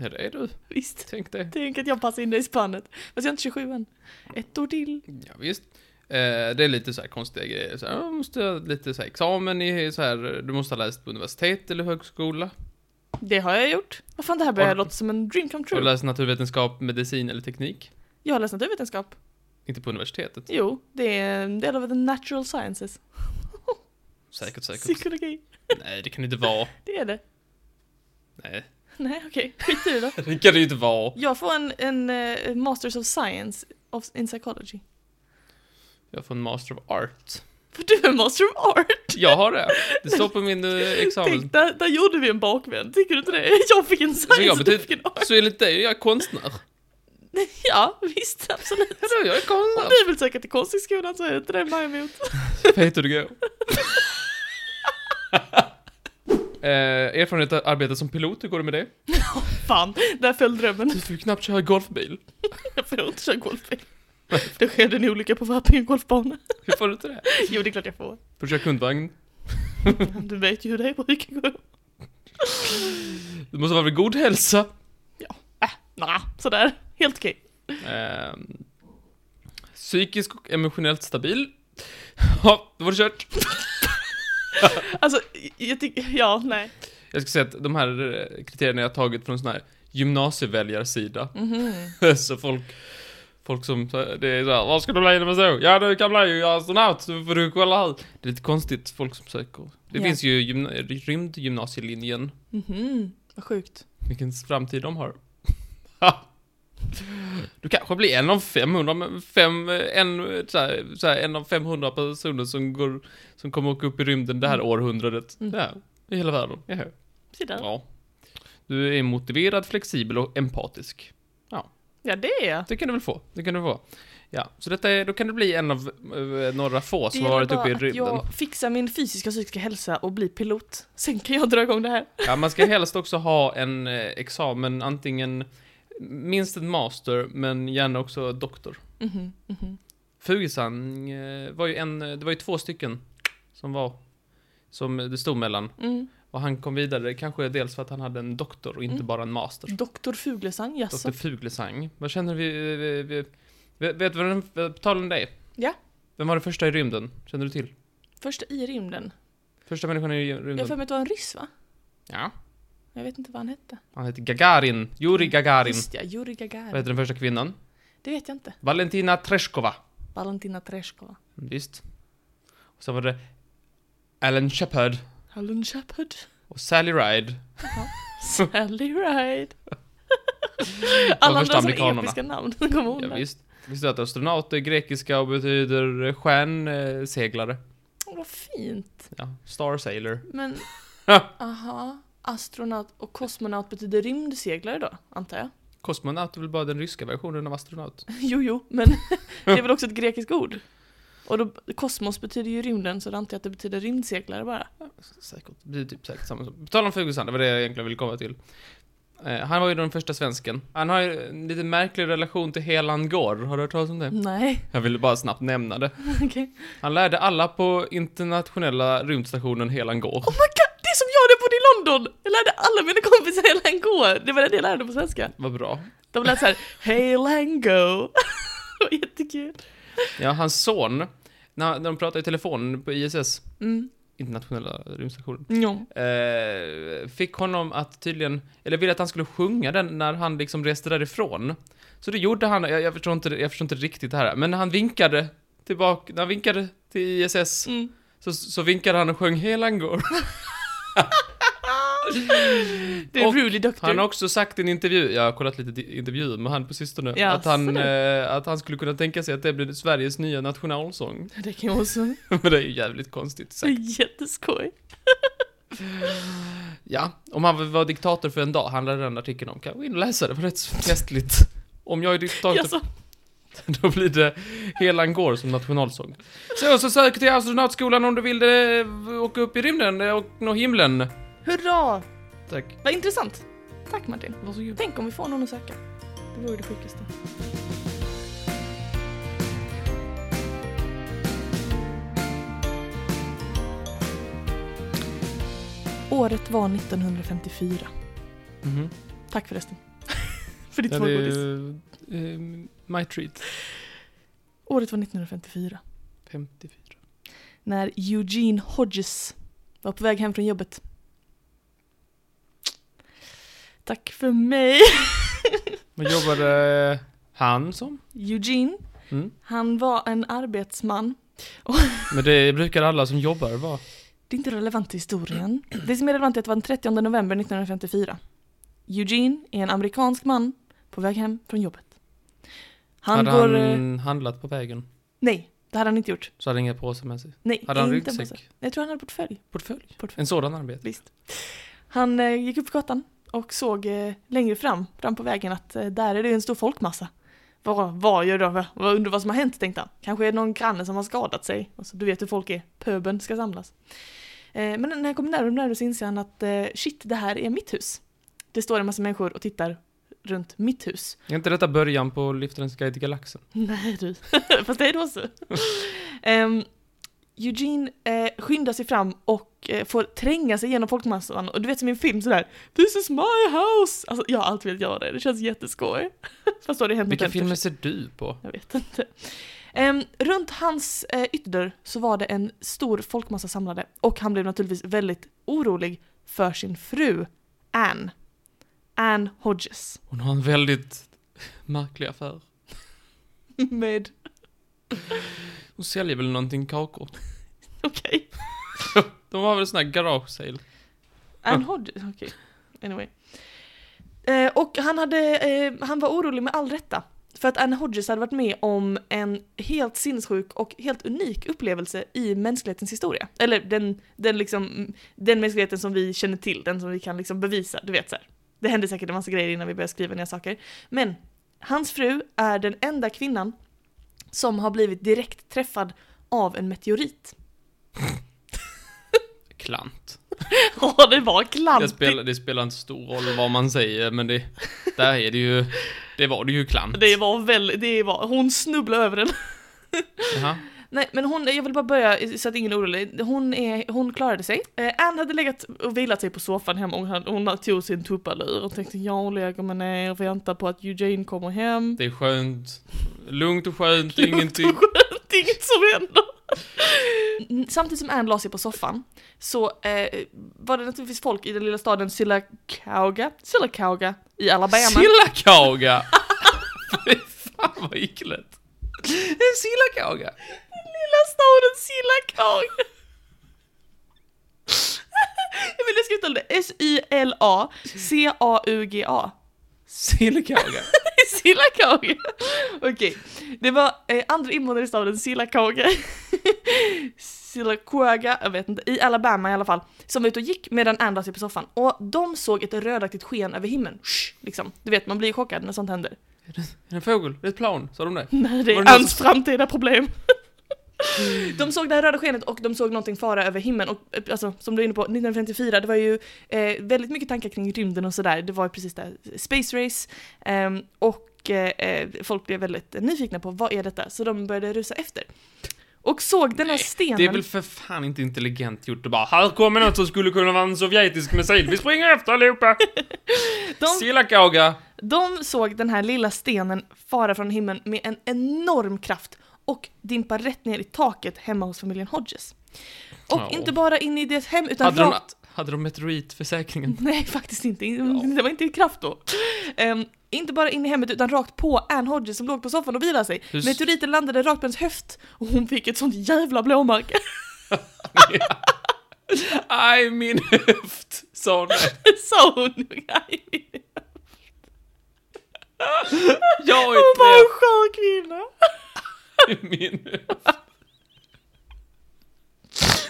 Ja, det är du.
Visst.
Tänk det.
Tänk att jag passar in det i spannet. Fast jag är inte 27 än. Ett år till.
Ja, visst. Eh, det är lite så här konstiga grejer. Så här, man måste ha lite så här examen i så här, du måste ha läst på universitet eller högskola.
Det har jag gjort. Vad fan, det här börjar
Har-
låta som en dream come
Har du
true.
läst naturvetenskap, medicin eller teknik?
Jag har läst naturvetenskap.
Inte på universitetet.
Jo, det är en del av the natural sciences.
Säkert, säkert.
Psykologi.
Nej, det kan det inte vara.
Det är det.
Nej,
Nej, okej. Skit i det då.
det kan det ju inte vara.
Jag får en, en eh, Masters of Science of, in Psychology.
Jag får en Master of Art.
För du är en Master of Art!
Jag har det. Det står på min eh, examen.
Tänk, där, där gjorde vi en bakvänd, tycker du inte det? Jag fick en
Så jag
science, du
betyder-
fick en art.
Så enligt dig är jag konstnär.
Ja, visst, absolut.
Ja, då, jag är
Om
konstnär.
du vill söka till konsthögskolan så är det inte det mig emot.
Vet hur det går. Eh, erfarenhet att arbeta som pilot, hur går det med det?
Fan, där föll drömmen.
Du får ju knappt köra golfbil.
Jag får inte köra golfbil. Det skedde en olycka på Värpingen golfbana.
Hur får du inte det?
Jo, det är klart jag får.
Får du köra kundvagn?
Du vet ju hur det är på Hykingö.
Du måste vara vid god hälsa.
Nja, sådär. Helt okej.
Eh, psykisk och emotionellt stabil. Ja, då var det kört.
Alltså, jag tycker, ja, nej.
Jag ska säga att de här eh, kriterierna jag har tagit från sån här gymnasieväljarsida.
Mhm.
så folk, folk som, det är såhär, vad ska du bli när man så? Ja du kan bli astronaut, så får du kolla här. Det är lite konstigt folk som söker. Det
Ja.
finns ju gymna- rymdgymnasielinjen,
Mhm, vad sjukt.
vilken framtid de har. du kanske blir en av 500, men fem, en, så här, så här, en av 500 personer som, går, som kommer åka upp i rymden det här
Mm.
århundradet.
Mm.
Ja, i hela världen. Ja.
Se där.
ja. Du är motiverad, flexibel och empatisk.
Ja, det är jag.
Det kan du väl få? Det kan du få. Ja, så detta är, då kan du bli en av eh, några få
Det
som har
gäller
varit
bara
uppe i
att
rymden.
jag fixar min fysiska och psykiska hälsa och blir pilot. Sen kan jag dra igång det här.
Ja, man ska helst också ha en eh, examen, antingen minst en master, men gärna också doktor.
Mhm, mhm.
Fugisan eh, var ju en, eh, det var ju två stycken som var, som det stod mellan.
Mm.
Och han kom vidare, kanske dels för att han hade en doktor och inte
Mm.
bara en master.
Doktor Fuglesang, jaså?
Doktor Fuglesang. Vad känner vi, eh, vi, vi vet, vet du vad den, vad talen det är?
Ja.
Vem var den första i rymden? Känner du till?
Första i rymden.
Första människan i rymden.
Jag har för mig att det var en ryss, va?
Ja.
Jag vet inte vad han hette.
Han heter Gagarin. Yuri Gagarin.
Just ja, Yuri
Vad
Gagarin.
heter den första kvinnan?
Det vet jag inte.
Valentina Tereshkova.
Valentina Tereshkova.
Visst. Så var det Alan Shepard
Alan Shepard.
och Sally Ride.
Sally Ride. Alla
första
andra sådana
amerikanerna.
episka namn. Kommer hon
Ja,
där?
visst. Visste du att astronaut är grekiska och betyder eh, stjärnseglare?
Åh, Vad fint.
Ja, Star Sailor.
Men, aha. Astronaut och kosmonaut betyder rymdseglare då, antar jag?
Kosmonaut är väl bara den ryska versionen av astronaut?
Jo, jo, men det är väl också ett grekiskt ord? Och då, kosmos betyder ju rymden, så då antar jag att det betyder rymdseglare bara.
Säkert. Det är typ säkert samma sak. På tal om Fuglesang, det var det jag egentligen ville komma till. Eh, han var ju den första svensken. Han har ju en lite märklig relation till Helan Gård. Har du hört talas om det?
Nej,
Jag ville bara snabbt nämna det.
okej.
Han lärde alla på internationella rymdstationen Helan Gård.
Oh my god, det är som jag när jag bodde i London! Jag lärde alla mina kompisar hela en går. Det var det jag lärde på svenska.
Vad bra.
De lät såhär, hey Lango! det var jättekul.
Ja, hans son, när, när de pratade i telefon på ISS,
Mm.
internationella rymdstationen,
Ja.
eh, fick honom att tydligen, eller ville att han skulle sjunga den när han liksom reste därifrån. Så det gjorde han, jag, jag, förstår, inte, jag förstår inte riktigt det här, men han vinkade tillbaka, när han vinkade till ISS,
Mm.
så, så vinkade han och sjöng Helangor.
Det är
Och
Rudy Doctor.
Han har också sagt i en intervju, jag har kollat lite di- intervjuer med han på sistone,
Ja,
att,
så
han,
du.
eh, att han skulle kunna tänka sig att det blir Sveriges nya nationalsång.
Det kan jag också.
Men det är ju jävligt konstigt
Det
sagt.
är jätteskoj.
Ja, om han var diktator för en dag handlade den artikeln om. Kan jag gå in och läsa? Det var rätt så festligt. Om jag är diktator
Jag sa,
Då blir det Helan går som nationalsång. Så, så sök till astronautskolan om du vill eh, åka upp i rymden eh, och nå himlen.
hurra!
Tack.
Vad intressant. Tack Martin.
Varsågod.
Tänk om vi får någon att söka. Det vore det sjukaste. Året var 1954.
Mhm.
Tack förresten. För ditt
Ja, det
förgodis.
är eh, my treat.
Året var 1954.
54.
När Eugene Hodges var på väg hem från jobbet. Tack för mig.
Vad
eh,
jobbade han som?
Eugene,
Mm.
han var en arbetsman
Men det brukar alla som jobbar vara.
Det är inte relevant till historien. Det som är relevant är att det var den 30 november 1954. Eugene är en amerikansk man på väg hem från jobbet. Han
hade
går... eh,
han handlat på vägen
Nej, det hade han inte gjort.
så hade han inga påsar med sig.
Nej,
Hade han
inte en massa.
ryggsäck?
Jag tror han hade portfölj.
Portfölj?
portfölj.
En sådan arbete?
Visst. Han eh, gick upp för gatan och såg eh, längre fram, fram på vägen, att eh, där är det en stor folkmassa. Vad, vad gör de? Vad undrar vad som har hänt, tänkte han. Kanske är det någon granne som har skadat sig. Och så, du vet hur folk är, pöben ska samlas. Eh, men när han kommer närmare och närmare så inser han att eh, shit, det här är mitt hus. Det står en massa människor och tittar runt mitt hus.
Är inte detta början på Liftarens guide till galaxen?
Nej du, fast det är då så. Ehm, Eugene eh, skyndar sig fram och eh, får tränga sig genom folkmassan och du vet som i en film sådär This is my house! Alltså jag har alltid velat göra det, det känns jätteskoj. Fast då har det hänt något
Vilka
hemskt
filmer
kanske.
ser du på?
Jag vet inte. Ehm, runt hans eh, ytterdörr så var det en stor folkmassa samlade och han blev naturligtvis väldigt orolig för sin fru Anne. Anne Hodges.
Hon har en väldigt märklig affär.
Med
Hon säljer väl någonting kakor?
Okej.
De har väl sån här garage sale?
Ann Hodges, okej. Anyway. Ah. Eh, och han, hade, eh, han var orolig med all rätta. För att Anne Hodges hade varit med om en helt sinnessjuk och helt unik upplevelse i mänsklighetens historia. Eller den, den, liksom, den mänskligheten som vi känner till, den som vi kan liksom bevisa, du vet så här. Det hände säkert en massa grejer innan vi började skriva ner saker. Men hans fru är den enda kvinnan som har blivit direkt träffad av en meteorit.
Klant.
Ja, det var
Det
klantigt!
spelar, det spelar inte stor roll vad man säger, men det... Där är det ju... Det var det ju klant.
Det var väldigt, det var, hon snubblade över den.
Jaha.
Nej men hon, jag vill bara börja så att ingen är orolig. Hon, är, hon klarade sig. Eh, Anne hade legat och vilat sig på soffan hemma och hon, hon tog sin tuppalur och tänkte jag lägger mig ner och väntar på att Eugene kommer hem.
Det är skönt. Lugnt och
Lugnt
skönt,
och
ingenting.
Det är inget som händer. Mm, Samtidigt som Anne la sig på soffan så eh, var det naturligtvis folk i den lilla staden Sylacauga, Sylacauga i Alabama.
Sillakauga! Fy fan vad äckligt. En sillakauga.
Lilla bästa ordet sillakong! Jag vill skriva ut det. S-Y-L-A-C-A-U-G-A.
Sillkage.
Sillakage! Okej, det var eh, andra invånare i staden Sillakage. Sillakwaga, jag vet inte, i Alabama i alla fall. Som var ute och gick medan andra satt på soffan. Och de såg ett rödaktigt sken över himlen. Shh, liksom. Du vet, man blir chockad när sånt händer.
Är det en fågel? Det är ett plan, sa de det?
Nej, det
Var
är
det någon
hans framtida problem. De såg det här röda skenet och de såg någonting fara över himlen och eh, alltså, som du är inne på, 1954, det var ju eh, väldigt mycket tankar kring rymden och sådär. Det var ju precis det här Space Race ehm, och eh, eh, folk blev väldigt nyfikna på vad är detta? Så de började rusa efter. Och såg den här stenen.
Det är väl för fan inte intelligent gjort att bara Här kommer något som skulle kunna vara en sovjetisk missil, vi springer efter allihopa!
de,
Sillakage!
de såg den här lilla stenen fara från himlen med en enorm kraft och dimpa rätt ner i taket hemma hos familjen Hodges. Och
Ja.
inte bara in i deras hem utan
Hade de,
rakt
hade de meteoritförsäkringen?
Nej, faktiskt inte. Mm, Det var inte i kraft då. Ehm, inte bara in i hemmet utan rakt på Ann Hodges som låg på soffan och vilade sig.
Hur-
Meteoriten landade rakt på hennes höft och hon fick ett sånt jävla blåmärke.
Aj, min höft! Sa hon det.
Sa hon.
Jag eh,
Hon var en
är
skör kvinna.
knäpp i min höft.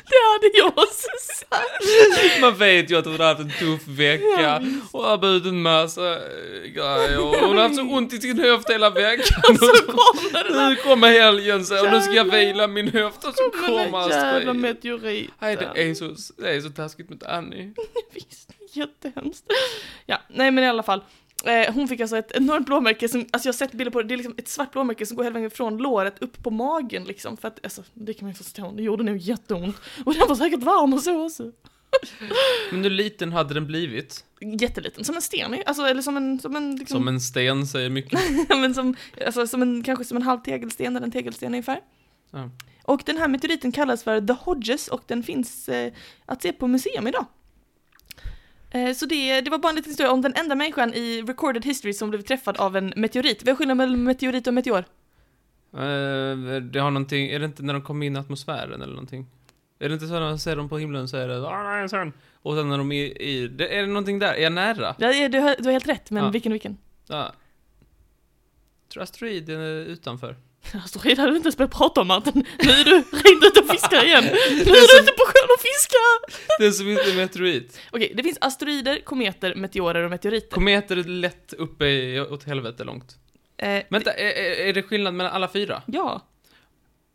Det hade jag också sagt.
Man vet ju att hon har haft en tuff
Ja,
vecka och har burit en massa eh, grejer. Och Hon har haft så ont i sin höft hela veckan.
Och så kommer den
Nu kommer helgen så, och nu ska jag
Jävlar.
vila min höft
Alltså,
och så kommer
här jävla
asteroiden.
meteoriten.
Nej, det är, så, det är så taskigt mot Annie.
Visst, jättehemskt. Ja, nej men i alla fall. Eh, hon fick alltså ett enormt blåmärke som, alltså jag har sett bilder på det, det är liksom ett svart blåmärke som går hela vägen från låret upp på magen liksom. För att alltså, det kan man ju förstå, det gjorde nog jätteont. Och den var säkert varm och så också.
Men hur liten hade den blivit?
Jätteliten, som en sten ju. alltså, eller som en, som en, liksom,
Som en sten säger mycket.
men som, alltså, som en, kanske som en halv tegelsten eller en tegelsten ungefär.
Ja.
Och den här meteoriten kallas för The Hodges och den finns eh, att se på museum idag. Eh, så det, det var bara en liten historia om den enda människan i recorded history som blev träffad av en meteorit. Vad är skillnaden mellan meteorit och meteor?
Eh, det har någonting, är det inte när de kommer in i atmosfären eller någonting? Är det inte så när man ser dem på himlen så är det ah, nej, en sån." Och sen när de är i, det, är det någonting där? Är jag nära?
Ja, ja, du, har, du har helt rätt, men
Ja.
vilken vilken?
Ja. Trust Reed är utanför.
Alltså det hade du inte ens börjat prata om Martin. Nu är du rent ute och fiskar igen. Nu är du ute på sjön och fiskar!
Det är som inte en meteorit.
Okej, det finns asteroider, kometer, meteorer och meteoriter.
Kometer är lätt uppe i, åt helvete långt.
Eh,
Vänta, är, är är det skillnad mellan alla fyra?
ja.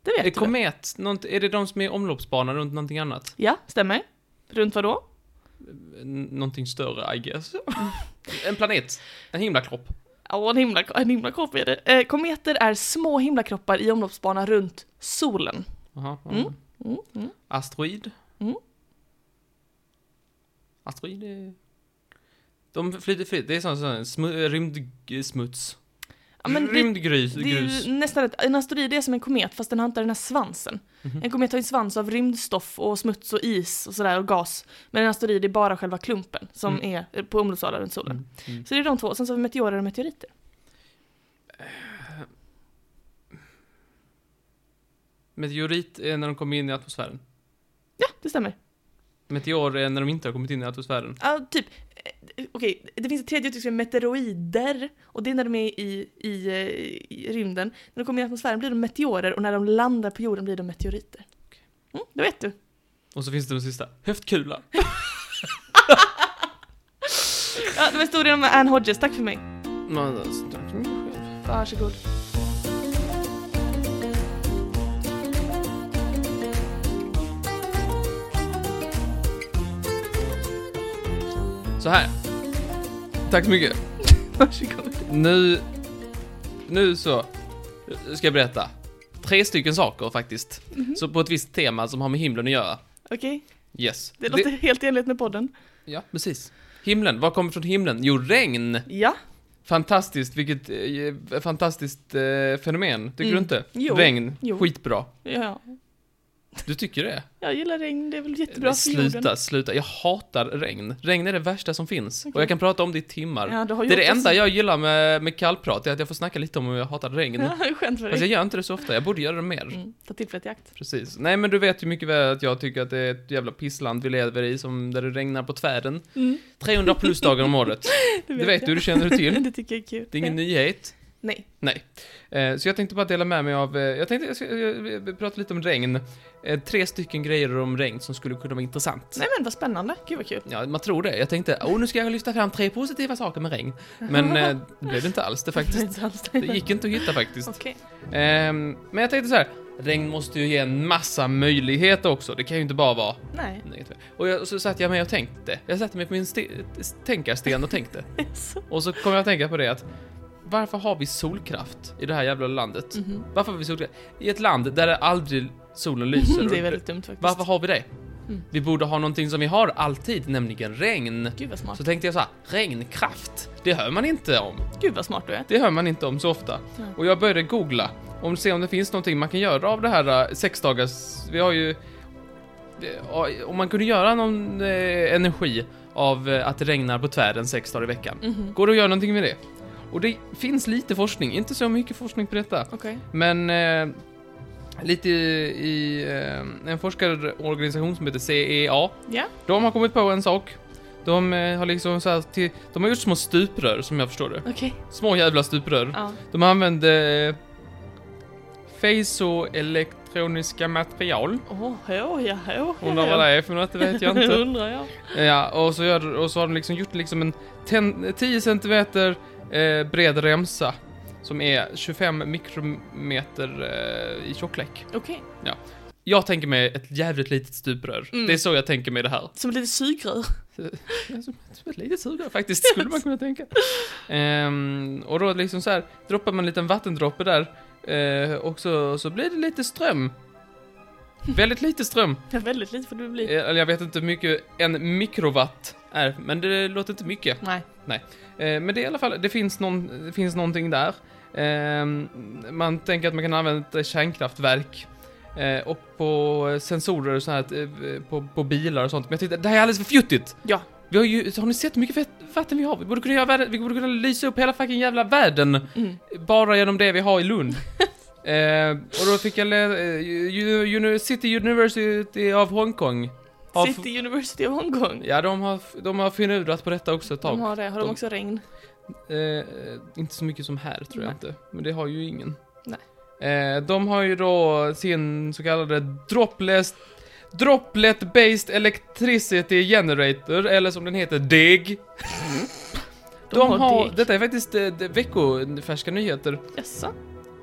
Det
Är
vet du.
komet, nånt, är det de som är i omloppsbana runt någonting annat?
Ja, stämmer. Runt vad då?
N- Någonting större, I guess.
Mm.
en planet. En himlakropp.
Ja, en, himla, en himlakropp är det. Eh, kometer är små himlakroppar i omloppsbana runt solen.
Jaha. ja.
Mm. Mm, mm.
Asteroid.
Mm.
Asteroid är... De flyter fritt. Det är sån, sån smu, rymdsmuts.
Ja, men det,
Rymdgrus.
det är
grus.
ju nästan ett, en asteroid är som en komet fast den har inte den här svansen.
Mhm.
En komet har ju en svans av rymdstoff och smuts och is och sådär och gas. Men en asteroid är bara själva klumpen som
Mm.
är eh, på omloppsbana runt solen.
Mm, mm.
Så det är de två, sen så har vi meteorer och meteoriter.
Meteorit är när de kommer in i atmosfären.
Ja, det stämmer.
Meteor är när de inte har kommit in i atmosfären.
Ja, typ. eh, Okej, det finns ett tredje uttryck som är meteoroider. Och det är när de är i, i, eh, i rymden. När de kommer i atmosfären blir de meteorer och när de landar på jorden blir de meteoriter. Mm, det vet du.
Och så finns det den sista. Höftkula.
Ja, det var historien om Anne Hodges. Tack för mig.
Men alltså, tack så mycket själv.
Varsågod.
Så här. Tack så mycket.
Varsågod.
Nu... Nu så ska jag berätta. Tre stycken saker faktiskt.
Mhm.
Så på ett visst tema som har med himlen att göra.
Okej,
Yes.
det låter helt i enlighet med podden.
Ja, precis. Himlen. Vad kommer från himlen? Jo, regn.
Ja,
Fantastiskt, vilket eh, fantastiskt eh, fenomen. Tycker
Mm.
du inte?
Jo.
Regn.
Jo.
Skitbra.
ja.
Du tycker det?
Jag gillar regn, det är väl jättebra för jorden.
Sluta, sluta. Jag hatar regn. Regn är det värsta som finns. Och
Okej.
jag kan prata om det i timmar.
Ja, du har
det är
gjort
det enda jag gillar med, med kallprat, är att jag får snacka lite om hur jag hatar regn.
Ja, det är skönt för
Fast jag
dig.
gör inte det så ofta, jag borde göra det mer.
Mm, ta tillfället i akt.
Precis. Nej men du vet ju mycket väl att jag tycker att det är ett jävla pissland vi lever i, som där det regnar på tvären.
Mm,
300 plus dagar om året. Det vet du, det känner du till.
det tycker jag är kul.
Det är ingen
ja.
nyhet.
Nej.
Nej. Eh, Så jag tänkte bara dela med mig av, eh, jag tänkte jag ska eh, prata lite om regn. Eh, Tre stycken grejer om regn som skulle kunna vara intressant.
Nej men vad spännande, gud vad kul.
Ja, man tror det. Jag tänkte, åh, nu ska jag lyfta fram tre positiva saker med regn. Men eh, det blev det inte alls det faktiskt.
Inte alls
Det gick inte att hitta faktiskt.
Okej.
Ehm, men jag tänkte så här, regn måste ju ge en massa möjligheter också. Det kan ju inte bara vara
Nej.
negativt. Och jag, så satt jag mig och tänkte. Jag satte mig på min ste- tänkarsten och tänkte.
Så.
Och så kom jag att tänka på det att varför har vi solkraft i det här jävla landet?
Mhm.
Varför har vi solkraft? I ett land där det aldrig solen lyser.
Det är väldigt dumt faktiskt.
Varför har vi det?
Mm.
Vi borde ha någonting som vi har alltid, nämligen regn.
Gud vad smart.
Så tänkte jag så här, regnkraft, det hör man inte om.
Gud vad smart du är.
Det hör man inte om så ofta.
Nej.
Och jag började googla om se om det finns någonting man kan göra av det här eh, sexdagars... Vi har ju... eh, Om man kunde göra någon eh, energi av eh, att det regnar på tvären sex dagar i veckan.
Mhm.
Går det att göra någonting med det? Och det finns lite forskning, inte så mycket forskning på detta.
Okej.
Men eh, lite i, i eh, en forskarorganisation som heter CEA.
Ja.
De har kommit på en sak. De eh, har liksom så här till, De har gjort små stuprör som jag förstår det.
Okej.
Små jävla stuprör.
Ja.
De använde eh, Fasoelektroniska material.
Åh, ja, ja, ja.
Undrar vad det är för något, det vet jag inte.
undrar jag.
Ja, och så, gör, och så har de liksom gjort liksom en 10 10 centimeter eh, bred remsa som är 25 mikrometer eh, i tjocklek.
Okej.
Jag tänker mig ett jävligt litet stuprör.
Mm.
Det är så jag tänker mig det här.
Som ett litet sugrör.
Ja, Som som ett litet sugrör faktiskt, skulle man kunna tänka. Ehm, och då liksom så här, droppar man en liten vattendroppe där eh, och så, så blir det lite ström. Väldigt lite ström.
Ja, väldigt lite får du
Eh,
bli.
Eller jag vet inte hur mycket en mikrowatt är, men det låter inte mycket.
Nej.
Eh, men det är i alla fall, det finns, någon, det finns någonting där. Ehm, man tänker att man kan använda ett kärnkraftverk. eh, och på sensorer och sånt här, eh, på, på bilar och sånt. Men jag tyckte, det här är alldeles för fjuttigt!
Ja.
Vi har ju, har ni sett hur mycket fett- vatten vi har? Vi borde kunna göra världen, vi borde kunna lysa upp hela fucking jävla världen
Mm.
bara genom det vi har i Lund. eh, och då fick jag lä- eh, U- Uni- City University of Hongkong. Har f-
City University of Hong Kong.
Ja, de har, f- de har finurat på detta också ett tag.
De har det. Har de
De-
också regn?
Eh, inte så mycket som här tror jag
Nej.
inte, men det har ju ingen.
Nej.
Eh, de har ju då sin så kallade dropless Droplet Based Electricity Generator, eller som den heter, DEG. De,
har
har,
DEG.
detta är faktiskt eh, det- veckofärska nyheter.
Jaså?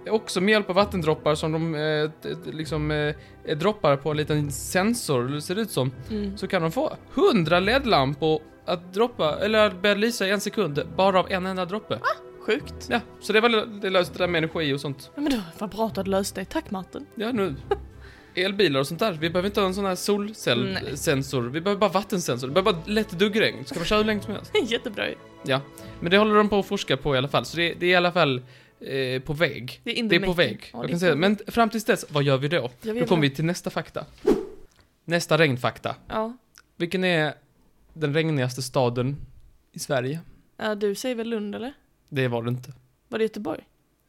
Också med hjälp av vattendroppar som de eh, t- t- liksom eh, droppar på en liten sensor, eller ser det ut som
Mm.
så kan de få 100 LED-lampor att droppa, eller att börja lysa i en sekund, bara av en enda droppe.
Sjukt.
Ja, så det var det löste det där med energi och sånt.
Ja, men då, vad bra att du hade löst det. Tack Martin.
Ja, nu. Elbilar och sånt där. Vi behöver inte ha en sån här
Nej.
solcellsensor. Vi behöver bara vattensensor. Det behöver bara lätt duggregn. Ska man köra hur länge som helst.
Jättebra ju.
Ja, men det håller de på att forska på i alla fall. Så det, det är i alla fall eh, på väg.
Det är, in
Det
the
är på
making.
väg.
Ja,
Jag
det
kan
är
säga
på-
det. Men fram tills dess, vad gör vi då?
Jag vet
Då kommer
inte.
vi till nästa fakta. Nästa regnfakta.
Ja.
Vilken är den regnigaste staden i Sverige?
Ja, Äh, Du säger väl Lund eller?
Det var det inte.
Var det Göteborg?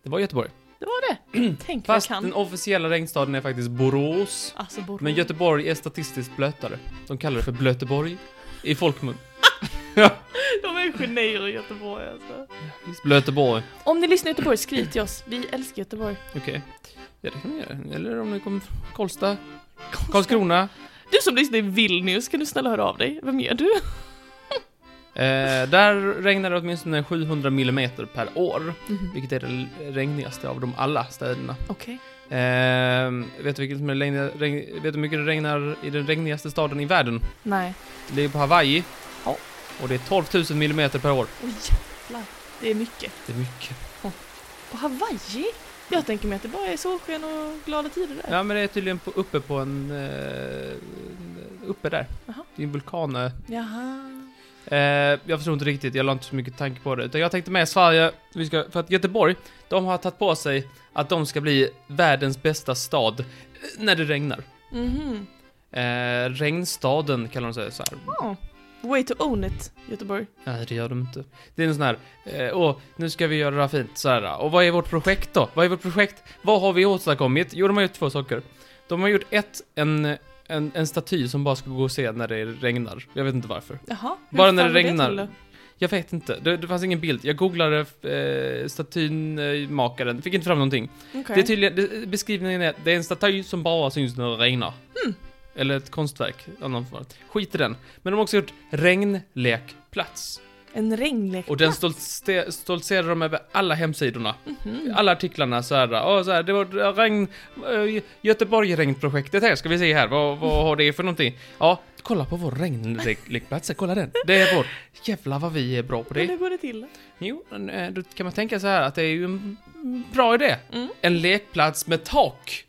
Det var Göteborg.
Det var det. Tänk vad jag
Fast
kan.
den officiella regnstaden är faktiskt Borås.
Alltså Borås.
Men Göteborg är statistiskt blötare. De kallar det för Blöteborg i folkmun.
De är genier i Göteborg alltså.
Blöteborg.
Om ni lyssnar i Göteborg, skriv till oss. Vi älskar Göteborg.
Okej. Ja, det kan man göra. Eller om ni kommer från Karlstad, Karlskrona.
Du som lyssnar i Vilnius, kan du snälla höra av dig? Vem är du?
Eh, där regnar det åtminstone 700 millimeter per år, vilket är det regnigaste av dem alla städerna.
Mhm. Okej.
Eh, vet, du vilket som är det regniga, regn, vet du hur mycket det regnar i den regnigaste staden i världen?
Nej.
Det ligger på Hawaii.
Ja.
Och det är 12 000 millimeter per år.
Åh jävlar. Det är mycket.
Det är mycket.
På Hawaii? Jag tänker mig att det bara är solsken och glada tider där.
Ja, men det är tydligen på, uppe på en... eh, uppe där.
Jaha.
Det är en vulkan. eh.
Jaha.
Eh, jag förstår inte riktigt, jag la inte så mycket tanke på det. Utan jag tänkte med Sverige, vi ska, för att Göteborg, de har tagit på sig att de ska bli världens bästa stad eh, när det regnar.
Mhm.
Eh, regnstaden kallar de sig så här.
Ja. Way to own it, Göteborg.
Nej, det gör de inte. Det är en sån här, eh, åh, nu ska vi göra det här fint, så här. Och vad är vårt projekt då? Vad är vårt projekt? Vad har vi åstadkommit? Jo, de har gjort två saker. De har gjort ett, en, en, en staty som bara ska gå att se när det regnar. Jag vet inte varför.
Jaha. hur
Bara när det
fan var
regnar.
till då?
Jag vet inte, det, det fanns ingen bild. Jag googlade eh, statynmakaren, fick inte fram någonting.
Okej.
Det är typ- tydligen, det, beskrivningen är, det är en staty som bara syns när det regnar.
Hmm.
Eller ett konstverk av någon form. Skit i den. Men de har också gjort regnlekplats.
En regnlek.
Och den stoltse- stoltserar de över alla hemsidorna.
Mhm.
Alla artiklarna så här, åh, så här, det var regn, eh, Göteborg regnprojektet här, ska vi se här, vad, vad har det för någonting? Ja, kolla på vår regnlekplats, kolla den. Det är vår, jävlar vad vi är bra på
Men
det.
hur går det till?
Jo, men, eh, då kan man tänka så här att det är ju en bra idé.
Mm.
En lekplats med tak.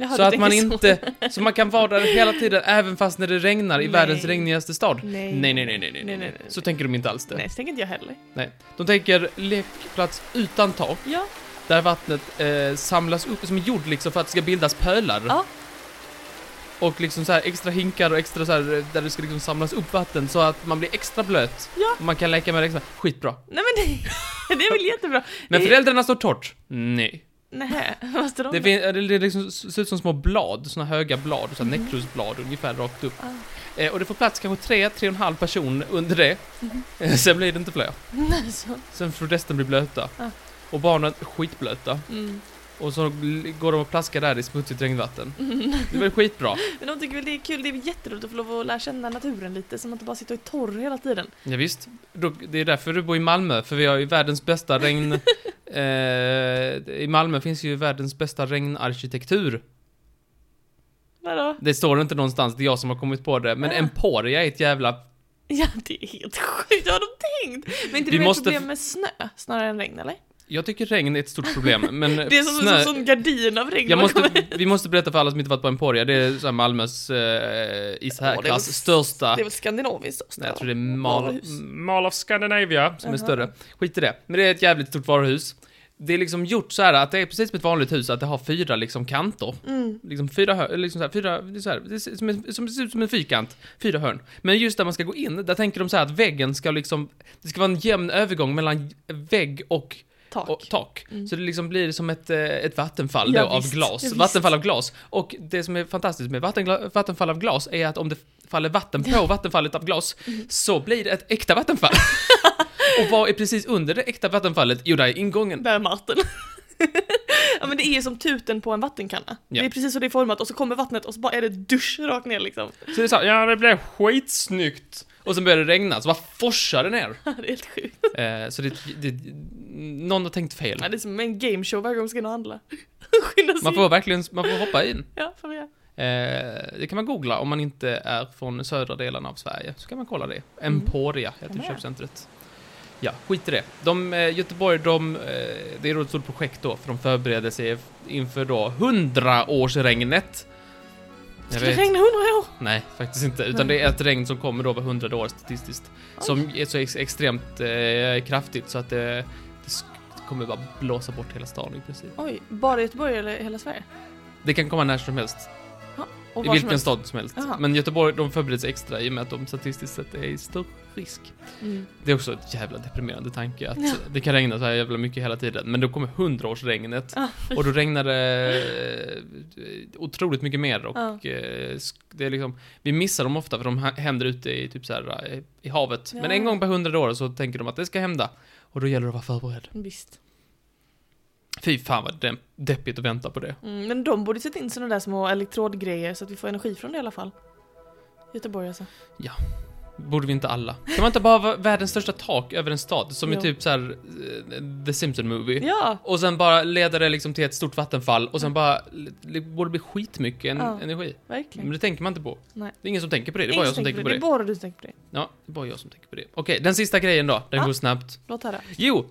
Jaha,
så
du
att man
tänker så.
inte, så. man kan vara där hela tiden även fast när det regnar i
Nej.
världens regnigaste stad.
Nej.
Nej, nej, nej, nej, nej, nej,
Nej, nej, nej.
Så tänker de inte alls det. Nej.
Nej, så tänker inte jag heller.
De tänker lekplats utan tak,
Ja,
där vattnet eh, samlas upp som jord liksom för att det ska bildas pölar.
Ja.
Och liksom så här extra hinkar och extra så här eh, där det ska liksom samlas upp vatten så att man blir extra blöt.
Ja.
Och man kan leka med det extra. Skitbra.
nej men det, det är väl jättebra.
Men
Det-
föräldrarna står torrt. Nej.
Nej, vad står de
Det,
med?
fin- det, det liksom ser ut som små blad, såna höga blad, såna
Mhm.
nekrosblad ungefär rakt upp.
Ah.
Eh, och det får plats kanske tre, tre och en halv person under det.
Mhm.
Eh, sen blir det inte fler.
Nej, så.
Sen får resten bli blöta.
Ah.
Och barnen är skitblöta.
Mm.
Och så l- går de och plaskar där i smutsigt regnvatten. Det blir skitbra.
Men de tycker väl det är kul, det är väl jätteroligt att få lov att lära känna naturen lite, som att inte bara sitta och är torr hela tiden.
Ja, visst. Då- Det är därför du bor i Malmö, för vi har ju världens bästa regn... Eh, I Malmö finns ju världens bästa regnarkitektur.
Vadå?
Det står inte någonstans, det är jag som har kommit på det. Men
Ah.
Emporia är ett jävla
Ja, det är helt sjukt, vad har de tänkt? Men inte
Vi
det är
måste-
måste... problem med snö, snarare än regn, eller?
Jag tycker regn är ett stort problem, men
Det är som
snö...
en sån gardin av regn.
jag
man kommer-
måste, vi måste berätta för alla som inte varit på Emporia, det är så här Malmös eh, i
Ja, det är väl-
särklass största...
Det är väl skandinaviskt också?
Nej, jag tror det är Mal,
Varuhus.
Mall of Scandinavia som är
Jaha.
större. Skit i det. Men det är ett jävligt stort varuhus. Det är liksom gjort så här att det är precis som ett vanligt hus, att det har fyra liksom kanter.
Mm.
Liksom fyra hörn, liksom så här, fyra, det är så här, det ser, som, en, som, det ser ut som en fyrkant, fyra hörn. Men just där man ska gå in, där tänker de så här att väggen ska liksom, det ska vara en jämn övergång mellan vägg och
Tak.
och tak. Så det liksom blir som ett, eh, ett vattenfall
Mm. Ja,
då, av
visst.
glas.
Ja, visst.
vattenfall av glas. Och det som är fantastiskt med vattengla- vattenfall av glas är att om det faller vatten på vattenfallet av glas
Mm.
så blir det ett äkta vattenfall. och vad är precis under det äkta vattenfallet? Jo, där är ingången.
Där är Martin. ja men det är som tuten på en vattenkanna.
Ja.
Det är precis så det är format och så kommer vattnet och så bara är det dusch rakt ner liksom.
Så det är så här, ja det blev skitsnyggt. Och sen börjar det regna, så bara forsar det ner.
det är helt sjukt.
Eh, så det, det, någon har tänkt fel.
Ja, det är som en gameshow varje gång vi ska in och handla. Skynda sig.
Man får verkligen, man får hoppa in.
Ja, får vi göra.
Eh, det kan man googla om man inte är från södra delen av Sverige. Så kan man kolla det.
Mm.
Emporia heter
med.
köpcentret. Ja, skit i det. De, eh, Göteborg, de, eh, det är då ett stort projekt då, för de förbereder sig inför då 100-årsregnet.
Ska
Jag
det
vet-
regna hundra år?
Nej, faktiskt inte. Utan det är ett regn som kommer då var hundrade år statistiskt. Som är så ex extremt eh, kraftigt så att eh, det, sk- det kommer bara blåsa bort hela stan i princip.
Oj, bara i Göteborg eller hela Sverige?
Det kan komma när som helst.
Och
I
var som
vilken
helst.
stad som helst.
Jaha.
Men Göteborg, de förbereds extra i och med att de statistiskt sett är i stor risk.
Mm.
Det är också ett jävla deprimerande tanke att
Ja.
det kan regna så här jävla mycket hela tiden. Men då kommer hundraårsregnet
Ja,
och då regnar det eh, otroligt mycket mer och
Ja.
eh, sk- det är liksom, vi missar dem ofta för de ha- händer ute i typ så här eh, i havet. Men
Ja.
en gång per hundra år så tänker de att det ska hända och då gäller det att vara förberedd.
Visst.
Fy fan vad de- deppigt att vänta på det.
Mm, men de borde sätta in såna där små elektrodgrejer så att vi får energi från det i alla fall. Göteborg alltså.
Borde vi inte alla? Kan man inte bara ha världens största tak över en stad? Som är
Jo.
typ så här eh, The Simpsons Movie.
Ja!
Och sen bara leder det liksom till ett stort vattenfall och sen bara... Det borde bli skitmycket en,
Ja.
energi. Men
Verkligen.
det tänker man inte på.
Nej.
Det är ingen som tänker på det, det är bara jag som tänker på det.
Det är bara du som tänker på det.
Ja, det är bara jag som tänker på det. Okej, den sista grejen då. Den
Ja.
går snabbt.
Låt höra.
Jo!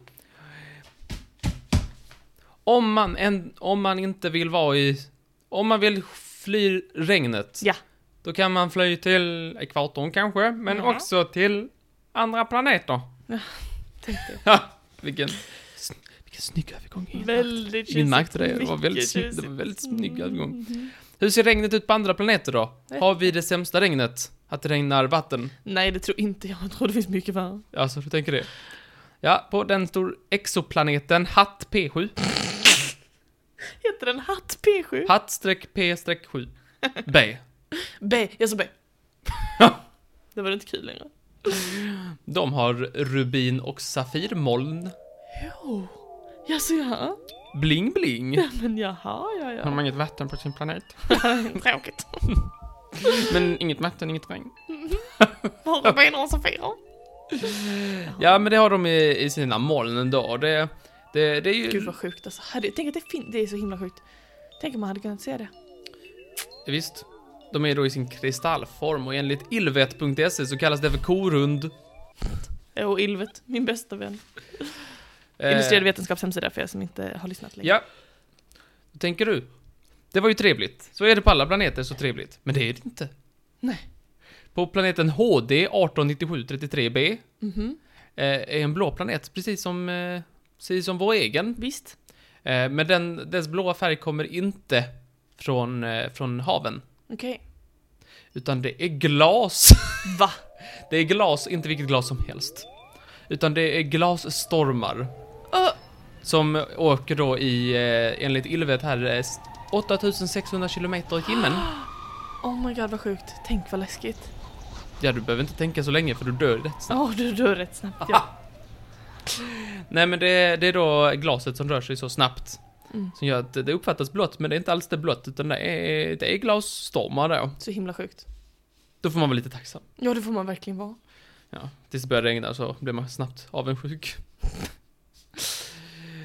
Om man, en, om man inte vill vara i... Om man vill fly regnet.
Ja.
Då kan man fly till ekvatorn kanske, men
Ja.
också till andra planeter.
Tänkte.
Ha, vilken, sn- vilken snygg övergång. Ingrid.
Väldigt
Ingen märkte det, det var
Mycket
väldigt, snygg, det
tjusigt.
var väldigt snygg övergång.
Mhm. Eh.
Hur ser regnet ut på andra planeter då?
Nej.
Har vi det sämsta regnet? Att det regnar vatten?
Nej, det tror inte jag. Jag tror det finns mycket värre.
Alltså, du tänker det? Ja, på den stor exoplaneten Hatt P7.
Heter den Hatt P7?
Hatt-P-7. B.
B. Jag sa B. det var inte kul längre.
De har rubin och safirmoln.
Jo. Jaså, jaha?
Bling bling.
Ja, Men jaha, ja,
Har
ja.
de inget vatten på sin planet?
Tråkigt.
Men inget vatten, inget regn.
Bara Robin och Sofia.
Ja, men det har de i, i sina moln ändå. Det, det, det är ju...
Gud vad sjukt alltså. Herre, tänk att det finns, det är så himla sjukt. Tänk om man hade kunnat se det.
Visst. De är då i sin kristallform och enligt ilvet.se så kallas det för korund.
Och oh, Ylvet, min bästa vän.
Eh,
Illustrerad vetenskaps hemsida för er som inte har lyssnat längre.
Ja. Då tänker du. Det var ju trevligt. Så är det på alla planeter, så trevligt. Men det är det inte.
Nej.
På planeten HD 1897-33b eh,
Mhm.
är en blå planet, precis som, eh, precis som vår egen.
Visst.
Eh, men den, dess blåa färg kommer inte från, eh, från haven.
Okej.
Utan det är glas.
Va?
Det är glas, inte vilket glas som helst. Utan det är glasstormar.
Ö,
Som åker då i, eh, enligt Ylvet här, eh, 8600 kilometer i timmen.
oh my god vad sjukt. Tänk vad läskigt.
Ja, du behöver inte tänka så länge för du dör rätt snabbt.
Åh, du dör rätt snabbt ja.
Nej, men det, det är då glaset som rör sig så snabbt.
Mm.
Som gör att det uppfattas blått, men det är inte alls det blått, utan det är, det är glasstormar då.
Så himla sjukt.
Då får man vara lite tacksam.
Ja, det får man verkligen vara.
Ja, tills det börjar regna så blir man snabbt avundsjuk.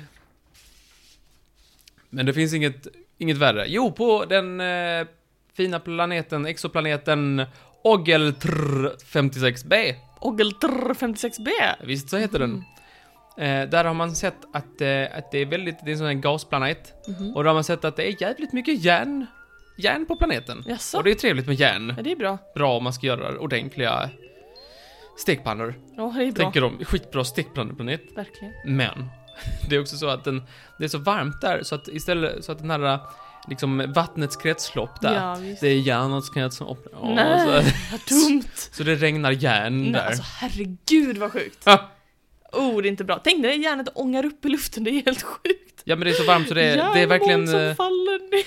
Men det finns inget, inget värre. Jo, på den eh, fina planeten, exoplaneten Ogeltr 56b.
Ogeltrr 56B.
Visst så heter den. Eh, där har man sett att, eh, att det är väldigt, det är en sån här gasplanet.
Mhm.
Och då har man sett att det är jävligt mycket järn. Järn på planeten.
Jaså?
Och det är trevligt med järn.
Ja, det är bra.
Bra om man ska göra ordentliga stekpannor.
Ja, det är bra.
Tänker de, skitbra stekpanneplanet.
Verkligen.
Men det är också så att den, det är så varmt där så att istället, så att den här liksom vattnets kretslopp där.
Ja, visst.
Det är järnets kretslopp. Ja,
Nej,
Så,
vad dumt.
så det regnar järn
Nej,
där.
alltså herregud vad sjukt.
Ha!
Oh, det är inte bra. Tänk när det järnet ångar upp i luften, det är helt sjukt.
Ja men det är så varmt så det, är- det är
Järnmoln
verkligen, eh,
som faller ner.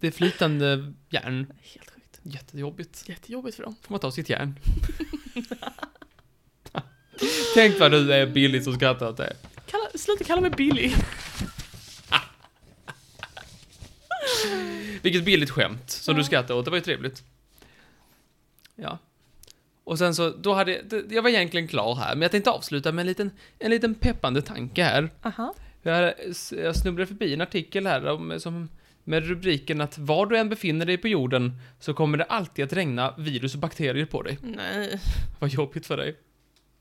det är flytande järn.
Helt sjukt.
Jättejobbigt.
Jättejobbigt för dem.
Får man ta sitt järn. Tänk vad du är billig som skrattar åt det.
Kalla, sluta kalla mig Billy.
Vilket billigt skämt som du skrattade åt, det var ju trevligt. Ja. Och sen så, då hade jag, det- jag var egentligen klar här, men jag tänkte avsluta med en liten, en liten peppande tanke här.
Aha.
Jag, hade- jag snubblade förbi en artikel här om, som, med rubriken att var du än befinner dig på jorden så kommer det alltid att regna virus och bakterier på dig.
Nej,
Vad jobbigt för dig.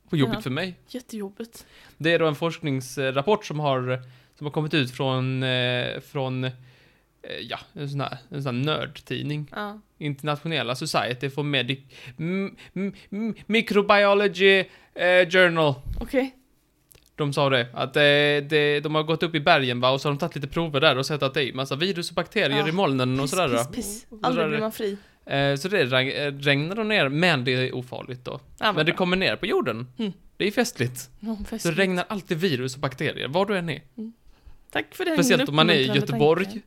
Vad jobbigt
Ja.
för mig.
jättejobbigt.
Det är då en forskningsrapport som har, som har kommit ut från, eh, från eh, ja, en sån här, en sån här nördtidning.
Ja.
Internationella Society for Medic... M- m- m- Microbiology eh, Journal.
Okej.
De sa det, att eh, det, de har gått upp i bergen va, och så har de tagit lite prover där och sett att det är massa virus och bakterier
Ah,
i molnen och
Piss,
sådär.
piss,
då.
piss.
Och
Aldrig
sådär.
blir man fri.
Eh, så det regn- eh, regnar de ner, men det är ofarligt då.
Ja,
men det
kommer...
kommer ner på jorden.
Mm.
Det är festligt. Så det regnar alltid virus och bakterier, var du än är.
Tack för den
Speciellt om man är i
uppmuntrande
Göteborg.
tanken.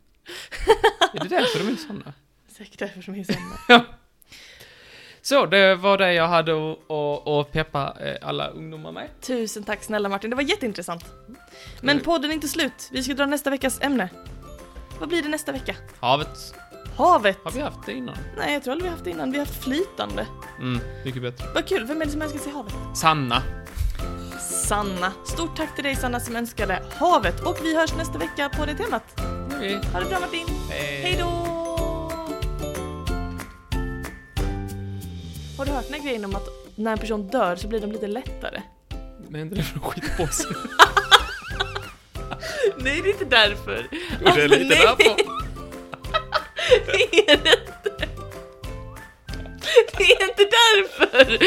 är det därför de är sådana?
Säkert därför som jag är sämre.
Så, det var det jag hade att- att att peppa eh, alla ungdomar med.
Tusen tack snälla Martin, det var jätteintressant. Men podden är inte slut, vi ska dra nästa veckas ämne. Vad blir det nästa vecka?
Havet.
Havet?
Har vi haft det innan?
Nej, jag tror aldrig vi har haft det innan. Vi har haft flytande.
Mm, mycket bättre.
Vad kul, vem är det som önskar sig havet?
Sanna.
Sanna. Stort tack till dig Sanna som önskade havet och vi hörs nästa vecka på det temat. Ha det bra Martin, hej då! Har du hört den här grejen om att när en person dör så blir de lite lättare?
Men händer det från skitpåsen?
Nej, det är inte därför. Alltså,
det är lite
nej.
därför.
Det är det inte. Det är inte därför.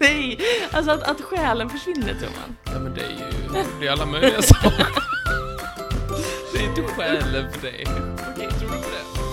Nej, alltså att, att själen försvinner tror man.
Ja men det är ju... Det är alla möjliga saker. Det är inte själen för det.
Okej.
Tror du inte det?